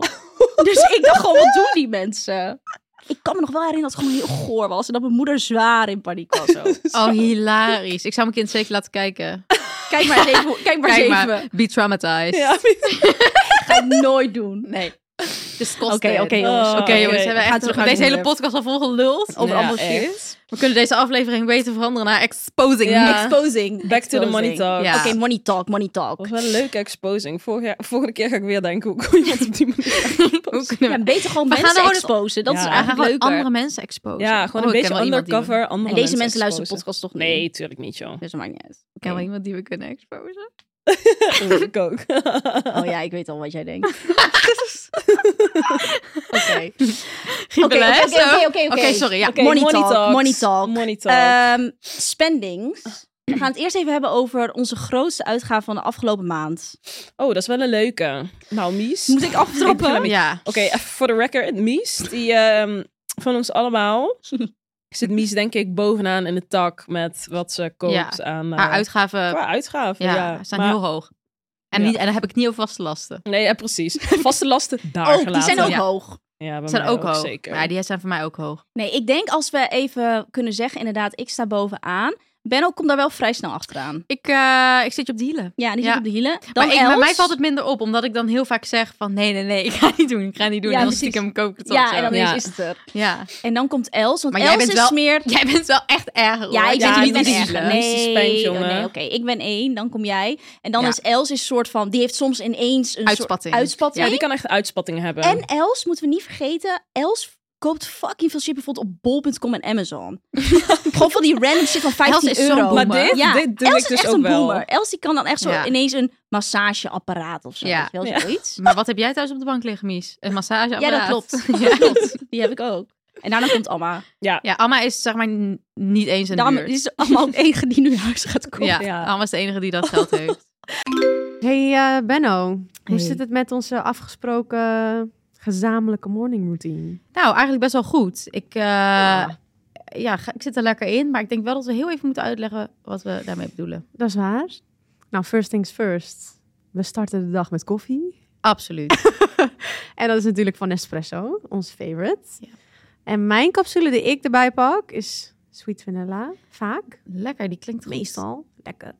S3: dus ik dacht gewoon, wat doen die mensen? Ik kan me nog wel herinneren dat het gewoon heel goor was. En dat mijn moeder zwaar in paniek was. ook.
S5: Oh, hilarisch. Ik zou mijn kind zeker laten kijken.
S3: Kijk maar eens even. hoe- Kijk maar eens
S5: Kijk
S3: even.
S5: maar, be traumatized.
S4: Ja,
S3: Ga ik nooit doen. Nee.
S5: Dus
S3: Oké, oké jongens.
S4: Oh,
S5: Oké jongens,
S3: gaan
S5: hebben we echt
S3: terug
S5: terug
S3: naar
S5: deze
S3: het
S5: hele
S3: onderwerp.
S5: podcast al volgeluld.
S3: Over
S5: Ja.
S3: allemaal shit.
S5: We kunnen deze aflevering beter veranderen naar exposing.
S4: Ja.
S3: Exposing.
S4: Back to the money
S3: Exposing.
S4: talk.
S5: Ja.
S3: Oké, money talk, money talk.
S4: Dat was wel een leuke exposing. Vorig jaar- volgende keer ga ik weer denken, hoe kon je dat op die manier
S5: Hoe kunnen
S4: exposen?
S5: we-
S3: Ja, beter gewoon
S5: We gaan
S3: mensen
S5: gewoon het-
S3: exposen. Dat
S4: Ja.
S3: is
S5: We gaan
S3: eigenlijk
S5: gewoon
S3: leuker.
S5: andere mensen exposen.
S4: Ja, gewoon een
S5: Oh, ik ken
S4: beetje
S5: wel iemand die we-
S4: undercover. andere
S3: En deze mensen luisteren de
S4: exposen.
S3: podcast toch niet?
S4: Nee, tuurlijk niet, joh.
S3: Dus dat maakt niet uit.
S5: Ik ken
S3: Oké.
S5: wel iemand die we kunnen exposen.
S4: Oeh, ik ook.
S3: Oh ja, ik weet al wat jij denkt. Oké.
S5: Oké,
S3: Oké, oké, oké, oké, oké.
S5: Oké, sorry. Ja.
S4: Oké,
S3: money,
S4: money
S3: talk,
S4: talks.
S3: money talk.
S4: Money talk.
S3: Ehm, spendings. We gaan het eerst even hebben over onze grootste uitgave van de afgelopen maand.
S4: Oh, dat is wel een leuke. Nou, Mies.
S3: Moet ik aftrappen?
S5: Ja. Ja.
S4: Oké, even voor de record. Mies, die ehm, van ons allemaal, zit Mies denk ik bovenaan in de tak met wat ze koopt aan
S3: Ah,
S4: eh,
S5: Haar uitgaven
S4: qua uitgaven.
S5: ja,
S4: Ja,
S5: staan
S4: Maar-
S5: heel hoog. En,
S4: Ja.
S5: niet, en dan heb ik het niet over vaste lasten.
S4: Nee, ja, precies. Vaste lasten daar
S3: Oh, die
S4: gelaten.
S3: zijn ook
S5: Ja.
S3: hoog.
S4: Ja, bij
S5: Ze zijn
S4: mij
S5: ook hoog.
S4: Zeker.
S5: Maar die zijn voor mij ook hoog.
S3: Nee, ik denk als we even kunnen zeggen, inderdaad, ik sta bovenaan. Benno komt daar wel vrij snel achteraan.
S5: Ik, eh, ik zit je op de hielen.
S3: Ja, die zit
S5: Ja.
S3: op de hielen. Dan
S5: Maar ik, bij
S3: Els.
S5: mij valt het minder op, omdat ik dan heel vaak zeg van nee, nee, nee, ik ga niet doen, ik ga niet doen.
S3: Ja,
S5: en dan
S3: precies.
S5: stiekem koop ik het op
S3: Ja,
S5: zo.
S3: en dan
S4: Ja.
S3: is het er.
S5: ja.
S3: En dan komt Els, want
S5: Maar
S3: Els
S5: jij bent
S3: is
S5: wel-
S3: meer...
S5: Jij bent wel echt erg. hoor.
S3: Ja, ik
S4: Ja,
S3: zit
S4: ik
S3: niet
S4: ben
S3: in
S4: echt
S3: echt.
S4: een
S3: Nee,
S4: Liesje Spank, jongen.
S3: oh nee, oké. Ik ben één, dan kom jij. En dan
S5: Ja.
S3: is Els een soort van... Die heeft soms ineens een
S5: Uitspatting.
S3: soort uitspatting.
S4: Ja, die kan echt uitspattingen hebben.
S3: En Els, moeten we niet vergeten... Els koopt fucking veel shit bijvoorbeeld op bol.com en Amazon. Gewoon van die random shit van 15
S5: Els is zo'n
S3: euro.
S4: maar
S5: boomer.
S4: dit,
S3: Ja,
S4: dit doe
S3: Els
S4: ik
S3: is
S4: dus
S3: echt
S4: ook
S3: een
S4: wel.
S3: boomer. Els die kan dan echt zo
S5: Ja.
S3: ineens een massageapparaat of zo.
S5: Ja.
S3: weet je wel,
S4: Ja.
S3: zoiets.
S5: Maar wat heb jij thuis op de bank liggen, Mies? Een massage?
S3: Ja, dat klopt.
S5: Ja.
S3: Klopt. Die heb ik ook. En daarna komt Amma.
S5: Ja, Amma is zeg maar n- niet eens een
S3: Dan
S5: buurt.
S3: is Amma ook de enige die nu huis gaat komen.
S5: Ja,
S4: Ja.
S5: Amma is de enige die dat geld heeft.
S6: Hey eh, Benno, hoe
S5: Hey.
S6: zit het met onze afgesproken gezamenlijke morning routine?
S5: Nou, eigenlijk best wel goed. Ik, eh, ja, ga- ik zit er lekker in, maar ik denk wel dat we heel even moeten uitleggen wat we daarmee bedoelen.
S6: Dat is waar. Nou, first things first. We starten de dag met koffie.
S5: Absoluut.
S6: En dat is natuurlijk van Nespresso, ons favorite.
S5: Ja.
S6: En mijn capsule die ik erbij pak is sweet vanilla, vaak.
S5: Lekker, die klinkt goed.
S6: Meestal. Lekker.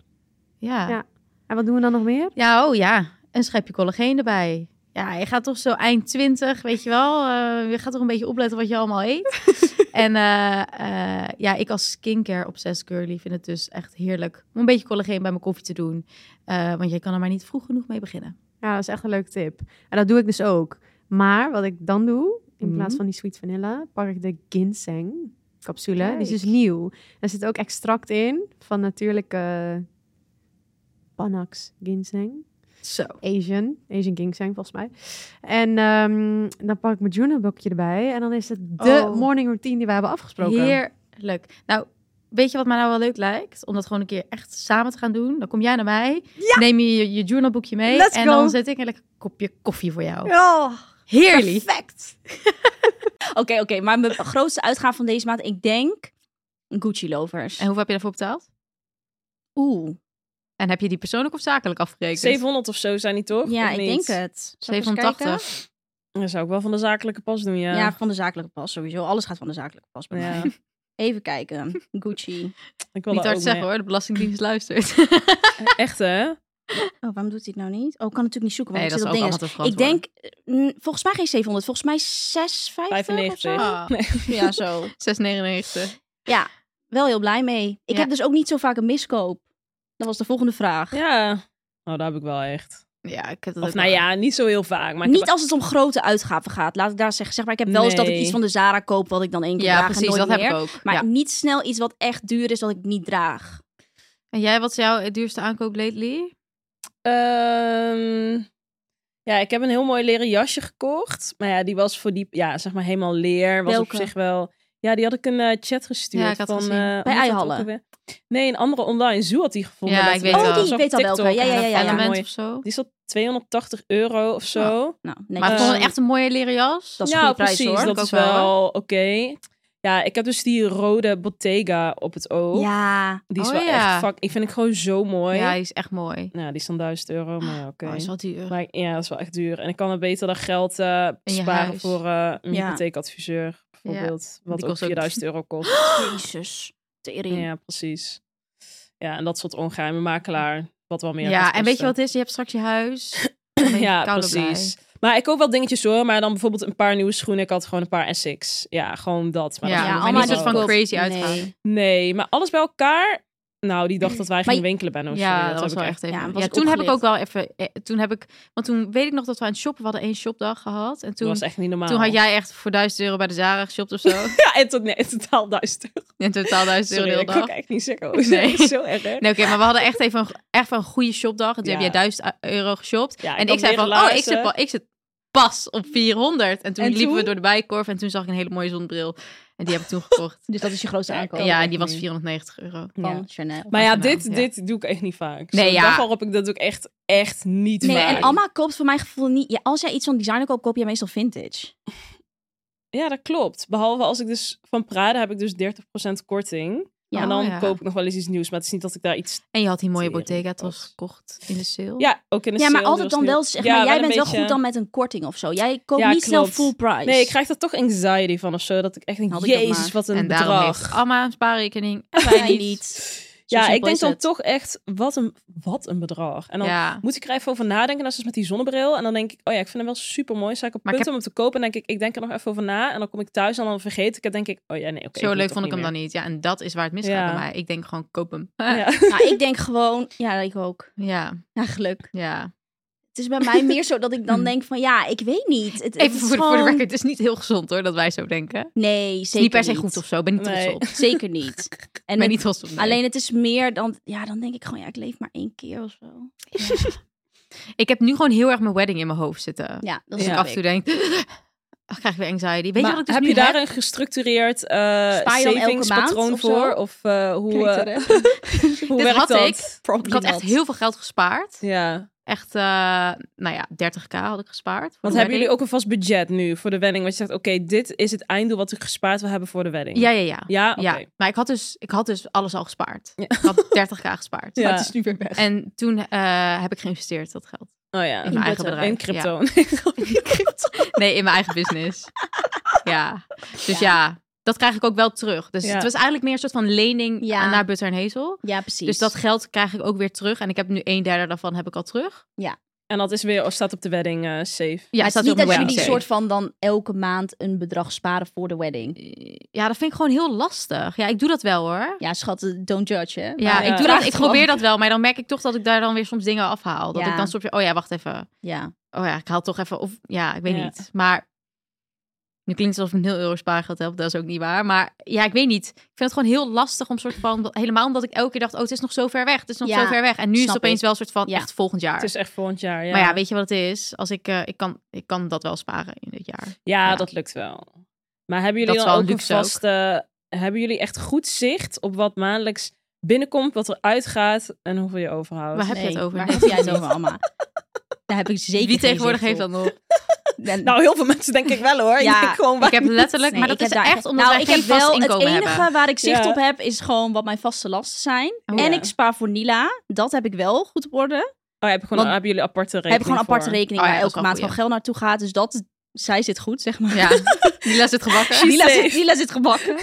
S5: Ja.
S6: Ja.
S5: ja.
S6: En wat doen we dan nog meer?
S5: oh ja. Een schepje collageen erbij. Ja, je gaat toch zo eind 20, weet je wel. eh, je gaat toch een beetje opletten wat je allemaal eet. en eh, eh, ja, ik als skincare obsessed girly vind het dus echt heerlijk om een beetje collageen bij mijn koffie te doen. Eh, want je kan er maar niet vroeg genoeg mee beginnen.
S6: Ja, dat is echt een leuke tip. En dat doe ik dus ook. Maar wat ik dan doe, in
S5: Mhm.
S6: plaats van die sweet vanilla, pak ik de ginseng capsule. Die is dus
S5: Kijk.
S6: nieuw. Daar zit ook extract in van natuurlijke Panax ginseng.
S5: Zo.
S6: Asian, Asian ginseng volgens mij. En ehm, dan pak ik mijn journalboekje erbij. En dan is het de
S5: Oh.
S6: morning routine die we hebben afgesproken.
S5: Heerlijk. Nou, weet je wat mij nou wel leuk lijkt? Om dat gewoon een keer echt samen te gaan doen. Dan kom jij naar mij, neem je je, je journalboekje mee
S6: Let's
S5: en
S6: go.
S5: dan zet ik een lekker kopje koffie voor jou.
S6: Oh,
S5: Heerlijk.
S6: perfect.
S3: Oké, oké. maar mijn grootste uitgave van deze maand, ik denk Gucci lovers.
S5: En hoeveel heb je daarvoor betaald?
S3: Oeh.
S5: En heb je die persoonlijk of zakelijk afgerekend?
S4: 700 of zo zijn die toch?
S3: Ja,
S4: Of
S3: ik
S4: niet?
S3: denk het. Zal ik eens
S5: 780.
S4: Dan zou ik wel van de zakelijke pas doen, ja.
S3: kijken? Ja. van de zakelijke pas sowieso. Alles gaat van de zakelijke pas bij
S4: Ja.
S3: mij. Even kijken. Gucci.
S4: Ik wil
S5: Niet
S4: daar
S5: hard
S4: ook
S5: zeggen
S4: mee.
S5: hoor, de Belastingdienst luistert.
S4: Echt, hè?
S3: Oh, waarom doet hij het nou niet? Oh, ik kan natuurlijk niet zoeken,
S5: nee,
S3: want
S5: dat
S3: ik
S5: is
S3: zit op dingen.
S5: ook allemaal te verantwoorden.
S3: Ik denk, eh, mm, volgens mij geen 700, volgens mij 650 of
S4: 95.
S3: zo.
S5: Ah.
S4: Nee.
S3: Ja, zo.
S5: 6,99.
S3: Ja, wel heel blij mee. Ik
S5: Ja.
S3: heb dus ook niet zo vaak een miskoop. Dat was de volgende vraag.
S4: Ja. Nou, daar heb ik wel echt.
S5: Ja, ik heb dat
S4: Of
S5: ook
S4: nou
S5: wel.
S4: ja, niet zo heel vaak. Maar ik
S3: niet
S4: heb-
S3: als het om grote uitgaven gaat. Laat ik daar zeggen. Zeg maar, ik heb wel eens dat ik
S4: Nee.
S3: iets van de Zara koop wat ik dan één keer
S5: Ja,
S3: draag en
S5: precies,
S3: nooit
S5: dat
S3: meer.
S5: heb ik ook.
S3: Maar
S5: Ja.
S3: niet snel iets wat echt duur is dat ik niet draag.
S5: En jij, wat is jouw duurste aankoop lately?
S4: Ehm, ja, ik heb een heel mooi leren jasje gekocht. Maar ja, die was voor die, ja, zeg maar helemaal leer. Was
S3: Welke?
S4: op zich wel. Ja, die had ik een eh, chat gestuurd.
S5: Ja, ik had
S4: van,
S5: gezien.
S4: eh,
S5: Bij
S4: hoe heet dat
S3: Eihalle?
S4: ook alweer? Nee, een andere online. Zoo had die gevonden.
S5: Ja, ik
S4: letterlijk.
S5: weet Oh, wel. die,
S4: Dat was
S3: ik
S4: op
S3: weet al welke.
S4: TikTok.
S3: Ja, ja, ja, ja.
S4: dat vond ik
S5: Element
S4: mooi.
S5: of zo?
S4: Die is op 280 euro of zo.
S3: Nou, nee,
S5: Maar
S4: Eh,
S5: ik vond het echt een mooie leren jas.
S3: dat is
S4: ja,
S3: een goede prijs
S4: precies.
S3: hoor.
S5: Vind
S4: Dat
S5: ik
S4: is
S5: ook wel,
S4: wel oké. Ja, ik heb dus die rode Bottega op het oog.
S3: Ja,
S4: Die is
S5: Oh,
S4: wel
S5: ja.
S4: echt fuck. Ik vind ik gewoon zo mooi.
S5: Ja, die is echt mooi.
S4: Nou, die is dan 1000 euro, maar ja, oké.
S5: Oh, is wel duur.
S4: Maar ik- ja, dat is wel echt duur. En ik kan het beter dan geld eh,
S5: In je
S4: sparen
S5: huis.
S4: voor eh, een
S3: Ja.
S4: hypotheekadviseur. Bijvoorbeeld, wat
S5: Die
S4: ook
S5: kost ook-
S4: 4000 euro kost.
S3: jezus. Tering.
S4: ja, precies. Ja, en dat soort ongeheime makelaar. Wat wel meer
S5: ja,
S4: gaat
S5: en weet je wat
S4: kosten.
S5: het is? Je hebt straks je huis. Dan ben je
S4: Ja,
S5: kouder blij.
S4: precies. Maar ik koop wel dingetjes hoor. Maar dan bijvoorbeeld een paar nieuwe schoenen. Ik had gewoon een paar Essex. Ja, gewoon dat. Maar
S5: Ja,
S4: dat
S5: maar
S4: vond ik
S5: allemaal
S4: niet
S5: dat
S4: zo.
S5: van
S3: goedkoop.
S5: crazy uitgaan.
S3: Nee.
S4: Nee, maar alles bij elkaar. Nou, die dacht dat wij gingen winkelen bij Notion.
S5: Ja,
S4: Oh, heb
S5: dat was
S4: ik
S5: wel echt even.
S3: Ja,
S5: Ja,
S3: was ik
S5: toen heb ik ook
S3: opgelicht.
S5: wel even. eh, Toen heb ik, want toen weet ik nog dat we aan het shoppen we hadden één shopdag gehad. En
S4: Dat
S5: toen,
S4: was echt niet normaal.
S5: toen had jij echt voor 1000 euro bij de Zara geshopt of zo.
S4: Ja, en tot, nee, in totaal duizend euro.
S5: in totaal 1000 euro
S4: Sorry,
S5: de hele
S4: dat kan ik
S5: dag.
S4: echt niet zeggen. Oh,
S5: Nee.
S4: dat is zo erg. hè?
S5: Nee, oké, maar we hadden echt even een, echt wel een goede shopdag. En toen
S4: Ja.
S5: heb jij 1000 euro geshopt.
S4: Ja, ik
S5: en ik
S4: had
S5: zei van,
S4: leren
S5: oh, ik
S4: laarzen.
S5: zit, pa- ik zit pas op 400. En toen
S4: En
S5: liepen we
S4: toen?
S5: door de bijkorf en toen zag ik een hele mooie zonnebril. En die heb ik toen gekocht.
S3: Dus dat is je grootste
S4: Ja,
S3: aankoop
S4: kan
S5: ja, en
S4: echt
S5: die was
S4: niet.
S5: 490 euro.
S3: van
S4: Ja.
S3: Chanel.
S4: Maar ja,
S5: Nationaal,
S4: dit,
S5: ja.
S4: dit doe ik echt niet vaak.
S5: Nee,
S4: Nee,
S5: ja.
S4: ja. dag waarop ik dat doe ik echt, echt niet
S3: Nee,
S4: vaak.
S3: en Alma koopt voor mijn gevoel niet... Ja, als jij iets van designer koopt, koop jij meestal vintage.
S4: Ja, dat klopt. Behalve als ik dus van Prada heb ik dus 30% korting.
S3: Ja.
S4: en dan
S5: Oh, ja.
S4: koop ik nog wel eens iets nieuws. Maar het is niet dat ik daar iets...
S5: En je had die mooie
S4: Tering,
S5: Bottega tas
S4: pas.
S5: gekocht in de sale.
S4: Ja, ook in de
S3: Ja, maar
S4: sale, die
S3: altijd
S4: was
S3: dan
S4: nieuw.
S3: wel... Zeg
S4: Ja,
S3: maar, jij
S4: een
S3: bent
S4: beetje-
S3: wel goed dan met een korting of zo. Jij koopt
S4: Ja,
S3: niet snel
S4: klopt.
S3: full price.
S4: Nee, ik krijg daar toch anxiety van of zo. Dat ik echt denk,
S3: Had ik dat
S4: jezus,
S3: maar.
S4: wat een
S5: en daarom heeft
S4: bedrag.
S5: Amma een spaarrekening. En
S3: Wij
S5: wij niet.
S3: niet.
S4: ja, ik
S3: simpel
S4: denk
S3: is
S4: dan
S3: het.
S4: toch echt, wat een, wat een bedrag. En dan
S5: Ja.
S4: moet ik er even over nadenken. Dat is dus met die zonnebril. En dan denk ik, oh ja, ik vind hem wel super mooi. Sta ik op
S5: Maar ik
S4: punt om hem te kopen. En denk ik, ik denk er nog even over na. En dan kom ik thuis en dan vergeet ik het. Denk ik, oh ja, nee, oké.
S5: Zo leuk vond ik hem dan niet. Ja, en dat is waar het misgaat
S4: Ja.
S5: bij mij. Ik denk gewoon, koop hem.
S4: Ja.
S3: Nou, ik denk gewoon... Ja, ik ook.
S5: Ja,
S3: Eigenlijk.
S5: ja.
S3: Het is bij mij meer zo dat ik dan
S5: Hmm.
S3: denk van... Ja, ik weet niet. Het, het
S5: Even
S3: is
S5: voor, de- voor
S3: gewoon...
S5: de record, het is niet heel gezond hoor, dat wij zo denken. Het
S3: Nee, zeker
S5: is niet per se goed of zo, ben niet trots
S4: Nee.
S5: op.
S3: Zeker niet. En
S5: En ben
S3: het-
S5: niet trots op, nee.
S3: Alleen het is meer dan... Ja, dan denk ik gewoon... Ja, ik leef maar één keer of zo.
S5: Ik heb nu gewoon heel erg mijn wedding in mijn hoofd zitten.
S3: Ja, dat
S5: Als
S3: is
S4: Ja.
S5: ik
S3: ja.
S5: af en toe denk, ach, krijg ik weer anxiety. Weet
S4: Maar
S5: je wat ik dus
S4: heb
S5: nu
S4: je daar
S5: heb?
S4: een gestructureerd eh
S3: dan elke maand
S4: savingspatroon
S3: of zo?
S4: voor? Of eh, hoe, eh, hoe
S5: Dit
S4: werkt
S5: had
S4: dat?
S5: ik. Ik had echt heel veel geld gespaard.
S4: Ja,
S5: Echt, eh, nou ja, 30k had ik gespaard. voor
S4: want hebben
S5: de wedding.
S4: jullie ook een vast budget nu voor de wedding? Want je zegt, oké, dit is het einddoel wat ik gespaard wil hebben voor de wedding.
S5: Ja, ja, ja.
S4: ja, Ah, oké.
S5: Ja, maar ik had, dus, ik had dus alles al gespaard. Ik had 30k gespaard.
S4: Ja.
S5: En toen eh, heb ik geïnvesteerd, dat geld.
S4: Oh ja.
S5: In mijn
S3: Butter.
S5: eigen bedrijf.
S4: En
S5: ja.
S4: crypto. Nee, grapje, crypto.
S5: Nee, in mijn eigen business. ja. Dus ja. dat krijg ik ook wel terug. Dus
S4: Ja.
S5: het was eigenlijk meer een soort van lening
S3: Ja.
S5: aan- naar Butter en Hezel.
S3: Ja, precies.
S5: Dus dat geld krijg ik ook weer terug. En ik heb nu een derde daarvan heb ik al terug.
S4: En dat is weer, oh, staat op de wedding eh, safe.
S5: Ja,
S3: Maar het
S5: staat
S3: is
S5: op
S3: niet dat
S5: mijn
S3: jullie
S5: website.
S3: soort van dan elke maand een bedrag sparen voor de wedding.
S5: Eh, Ja, dat vind ik gewoon heel lastig. Ja, ik doe dat wel hoor.
S3: Ja, schat, eh, don't judge, hè?
S5: Ja,
S4: Maar, eh,
S5: ik, doe
S3: Nou, vraag
S5: dat, ik
S3: het gewoon.
S5: probeer dat wel, maar dan merk ik toch dat ik daar dan weer soms dingen afhaal. Dat
S3: Ja.
S5: ik dan soms weer, oh ja, wacht even.
S3: Ja.
S5: Oh ja, ik haal toch even, of ja, ik weet
S4: Ja.
S5: niet. Maar nu klinkt het alsof ik 0 euro spaargeld heb, dat is ook niet waar. Maar ja, ik weet niet. Ik vind het gewoon heel lastig om soort van, helemaal omdat ik elke keer dacht, oh het is nog zo ver weg, het is nog
S3: Ja,
S5: zo ver weg. En nu is
S3: snap
S5: het opeens
S3: ik.
S5: wel een soort van,
S3: Ja.
S5: echt volgend jaar.
S4: Het is echt volgend jaar, ja.
S5: Maar ja, weet je wat het is? Als ik, eh, ik, kan, ik kan dat wel sparen in dit jaar.
S4: ja,
S5: ja.
S4: dat lukt wel. Maar hebben jullie
S5: Dat is
S4: dan
S5: wel
S4: ook een
S5: luxe ook.
S4: vaste... Hebben jullie echt goed zicht op wat maandelijks binnenkomt, wat er uitgaat en hoeveel je overhoudt?
S5: Waar heb je het over?
S3: Waar
S5: Nee.
S3: heb jij het over, Alma? Daar heb ik zeker
S5: Wie
S3: geen
S5: tegenwoordig
S3: zicht
S5: heeft dat
S3: op.
S5: nog?
S3: Ben-
S4: Nou, heel veel mensen denk ik wel hoor.
S3: Ja,
S4: ik denk gewoon, waar...
S5: Ik heb letterlijk,
S3: Nee,
S5: maar dat
S3: ik heb
S5: is
S3: daar
S5: echt omdat
S3: nou,
S5: wij
S3: ik
S5: geen
S3: heb wel
S5: vast inkomen
S3: Het enige
S5: hebben.
S3: waar ik zicht
S4: Ja.
S3: op heb, is gewoon wat mijn vaste lasten zijn.
S5: Oh,
S3: En
S4: ja.
S3: ik spaar voor Nila. Dat heb ik wel goed op orde.
S4: Oh, heb je gewoon,
S3: Want-
S4: hebben jullie aparte rekening
S3: heb ik gewoon een aparte
S4: voor?
S3: rekening
S5: Oh ja,
S3: waar
S5: dat is
S3: elke
S5: wel
S3: maand
S5: goed,
S3: gewoon geld naartoe gaat. Dus dat, zij zit goed, zeg maar.
S5: Ja, Mila zit gebakken.
S3: Nila,
S4: safe.
S3: zit, Nila zit gebakken.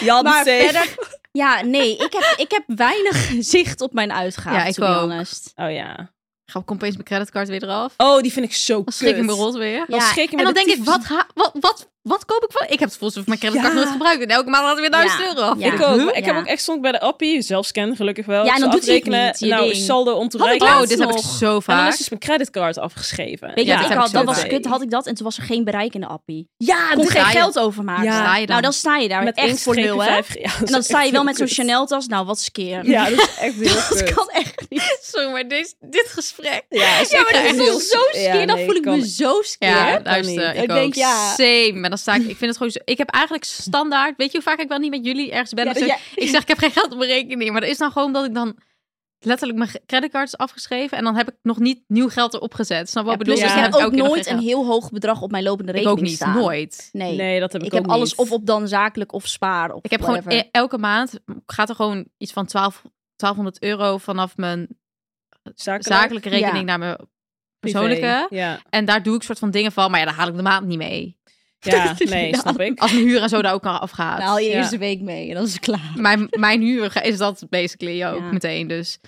S4: Jan
S3: maar
S4: safe.
S3: verder... Ja, nee, ik heb, ik heb weinig zicht op mijn uitgaven,
S5: Ja, ik
S3: to be
S5: ook.
S3: honest.
S4: Oh ja.
S5: Ga ik opeens mijn creditcard weer eraf.
S4: Oh, die vind ik zo
S5: Dan
S4: kut.
S5: schrik ik me rot weer.
S4: Dan schrik je me
S5: en dan
S4: de
S5: denk ik,
S4: tyfus.
S3: dus
S5: wat, ga- wat, wat, wat koop ik van? Ik heb het volgens mij mijn creditcard
S4: Ja.
S5: nooit gebruikt. En elke maand had ik weer 1000
S3: Ja.
S5: euro af.
S3: Ja.
S4: Ik ook.
S3: Huh?
S4: Ik
S3: Ja.
S4: heb ook echt stond bij de appie, zelfscan gelukkig wel.
S3: Ja, en
S4: Ze
S3: dan doet hij het
S4: afrekenen.
S3: niet, je
S4: Nou,
S3: ding.
S4: saldo
S5: Had ik
S4: ontwijken.
S5: oh,
S3: laatst
S5: dit heb ik
S3: nog.
S5: zo
S4: En dan
S5: vaak.
S4: is dus mijn creditcard afgeschreven.
S3: Weet je
S5: Ja,
S3: wat
S5: dat
S3: ik
S5: heb
S3: had?
S5: ik
S3: Dat
S5: zo
S3: was
S5: bij.
S3: kut, had ik dat. En toen was er geen bereik in de appie.
S4: Ja,
S3: Kon
S4: dit-
S3: geen
S5: ga je-
S3: geld overmaken.
S4: Ja.
S5: Sta je dan?
S3: Nou, dan sta je daar
S4: met één
S3: echt voor
S4: streepje
S3: nul, hè.
S4: vijf- Ja, dat
S3: En dan
S4: is
S3: sta je
S4: echt
S3: wel
S4: heel
S3: met zo'n
S4: kut.
S3: Chanel-tas. Nou, wat skeer.
S4: Ja, dat is echt heel
S3: Dat
S4: kut.
S3: kan echt niet.
S5: Sorry, maar dit, dit gesprek.
S4: Ja,
S3: Ja, maar dat is
S4: heel
S3: toch zo
S4: ja,
S3: skeer. Dan
S4: nee,
S3: voel ik
S4: kan
S3: me
S4: niet.
S3: zo skeer.
S5: Ja,
S4: kan
S5: luister,
S4: niet.
S5: ik,
S3: Ik
S5: ook.
S3: denk, ja.
S5: Same. Maar dan sta ik, ik vind het gewoon zo... Ik heb eigenlijk standaard... Weet je hoe vaak ik wel niet met jullie ergens ben?
S3: Ja,
S5: of zo?
S3: dus ja.
S5: Ik zeg, ik heb geen geld op mijn rekening. Maar dat is dan gewoon dat ik dan... Letterlijk mijn creditcard is afgeschreven. En dan heb ik nog niet nieuw geld erop gezet. Snap je wat ik
S3: Ja,
S5: bedoel?
S3: plus,
S5: Dus
S3: ik
S5: dan
S3: heb
S5: elke
S3: ook
S5: keer nog
S3: nooit
S5: geen
S3: een
S5: geld.
S3: heel hoog bedrag op mijn lopende
S5: Ik
S3: rekening
S5: ook niet,
S3: staan.
S5: nooit.
S3: Nee.
S4: Nee, dat heb
S3: ik,
S4: ik,
S3: heb
S4: ook
S3: alles
S4: niet.
S3: of op dan zakelijk of spaar. Of
S5: Ik heb
S3: whatever.
S5: gewoon e- elke maand gaat er gewoon iets van 12, 1200 euro vanaf mijn
S4: zakelijk,
S5: zakelijke rekening
S3: Ja.
S5: naar mijn
S4: privé.
S5: persoonlijke.
S4: Ja,
S5: En daar doe ik soort van dingen van, maar ja, daar haal ik de maand niet mee.
S4: ja nee, snap ik.
S5: Als mijn huur en zo daar ook al afgaat.
S3: Dan haal Nou, je
S4: Ja.
S3: eerste week mee en dan is het klaar.
S5: Mijn, mijn huur ga- is dat basically ook
S3: Ja.
S5: meteen. Dus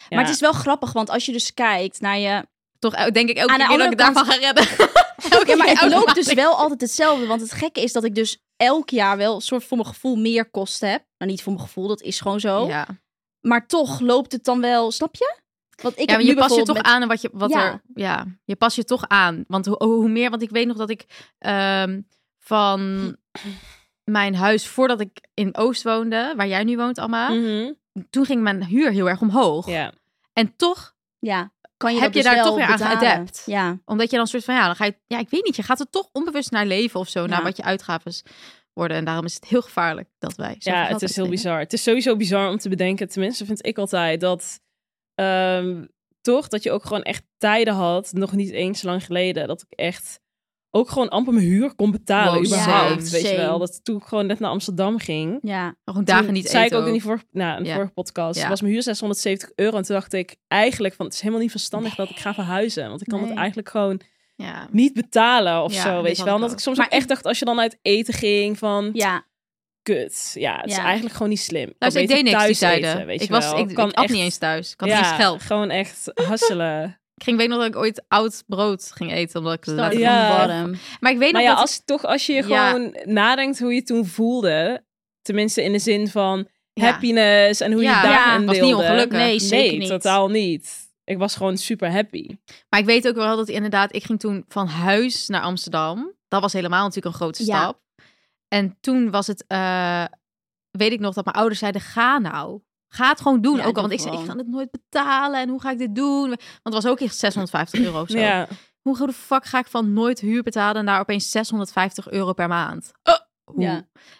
S4: Ja.
S3: Maar het is wel grappig, want als je dus kijkt naar je...
S5: toch el- denk ik elke
S3: Aan de
S5: keer dat
S3: andere
S5: ik daarvan ga redden. elke
S3: Ja, maar
S5: keer,
S3: het
S5: elke
S3: loopt
S5: maand.
S3: dus wel altijd hetzelfde. Want het gekke is dat ik dus elk jaar wel een soort voor mijn gevoel meer kosten heb. Nou, niet voor mijn gevoel, dat is gewoon zo.
S5: Ja,
S3: Maar toch loopt het dan wel, snap je? Want ik
S5: ja
S3: heb
S5: maar je
S3: nu
S5: pas je toch
S3: bijvoorbeeld
S5: aan aan wat je wat
S3: Ja.
S5: er ja je pas je toch aan want hoe, hoe meer want ik weet nog dat ik ehm, van mijn huis voordat ik in Oost woonde waar jij nu woont Alma
S4: Mhm.
S5: toen ging mijn huur heel erg omhoog
S4: Ja.
S5: en toch
S3: met- Ja, kan je
S5: heb
S3: dat
S5: je
S3: dus
S5: daar
S3: wel
S5: toch weer aan
S3: betalen.
S5: geadapt?
S3: Ja.
S5: omdat je dan soort van ja dan ga je ja ik weet niet je gaat er toch onbewust naar leven of zo naar
S3: Ja.
S5: wat je uitgaves worden en daarom is het heel gevaarlijk dat wij zoveel
S4: Ja,
S5: geld
S4: het is heel
S5: uitgeven.
S4: bizar. Het is sowieso bizar om te bedenken, tenminste vind ik altijd, dat ehm, toch dat je ook gewoon echt tijden had, nog niet eens lang geleden, dat ik echt ook gewoon amper mijn huur kon betalen
S5: Wow,
S4: überhaupt,
S5: same,
S4: weet je
S3: same.
S4: wel. Dat toen ik gewoon net naar Amsterdam ging,
S3: Ja,
S5: gewoon dagen
S4: toen
S5: niet
S4: zei
S5: eten
S4: ik ook in die vorige, nou, in de
S5: Ja.
S4: vorige podcast,
S5: Ja.
S4: was mijn huur 670 euro en toen dacht ik eigenlijk van, het is helemaal niet verstandig dat ik ga verhuizen, want ik kan
S3: Nee.
S4: het eigenlijk gewoon
S5: ja Nou,
S4: niet betalen of
S5: Ja,
S4: zo,
S5: dit
S4: weet je
S5: had
S4: wel.
S5: ik
S4: Omdat
S5: ook.
S4: ik soms
S3: Maar
S4: ook echt dacht, als je dan uit eten ging van,
S3: ja.
S4: kut. Ja, het is
S3: Ja.
S4: eigenlijk gewoon niet slim.
S5: Nou,
S4: Kan
S5: ik deed
S4: beter
S5: niks die
S4: thuis
S5: zeiden.
S4: eten, weet
S5: ik
S4: je
S5: was,
S4: wel.
S5: ik,
S4: Kan
S5: ik at
S4: echt-
S5: niet eens thuis. Ik had niet
S4: ja,
S5: eens geld.
S4: gewoon echt hasselen.
S5: Ik ging weet nog dat ik ooit oud brood ging eten omdat ik
S3: Dat
S5: laat-
S3: is
S4: Ja.
S3: gewoon warm.
S5: Maar ik weet
S4: maar
S5: nog
S4: ja,
S5: dat
S4: als, toch, als je
S5: Ja.
S4: gewoon nadenkt hoe je toen voelde, tenminste in de zin van
S5: Ja.
S4: happiness en hoe
S5: Ja,
S4: je daar
S5: ja.
S4: aan
S5: Was niet
S4: deelden.
S5: ongelukkig.
S3: Nee, zeker
S4: Nee,
S3: niet.
S4: totaal niet. Ik was gewoon super happy.
S5: Maar ik weet ook wel dat inderdaad, ik ging toen van huis naar Amsterdam. Dat was helemaal natuurlijk een grote
S3: Ja.
S5: stap. En toen was het, eh, weet ik nog, dat mijn ouders zeiden, ga nou. Ga het gewoon doen.
S3: Ja,
S5: ook al,
S3: doe
S5: want ik zei, ik
S3: gewoon.
S5: kan het nooit betalen. En hoe ga ik dit doen? Want het was ook echt 650 euro of zo.
S4: Ja.
S5: Hoe hoe de fuck ga ik van nooit huur betalen naar opeens 650 euro per maand? Oh, hoe?
S3: Ja.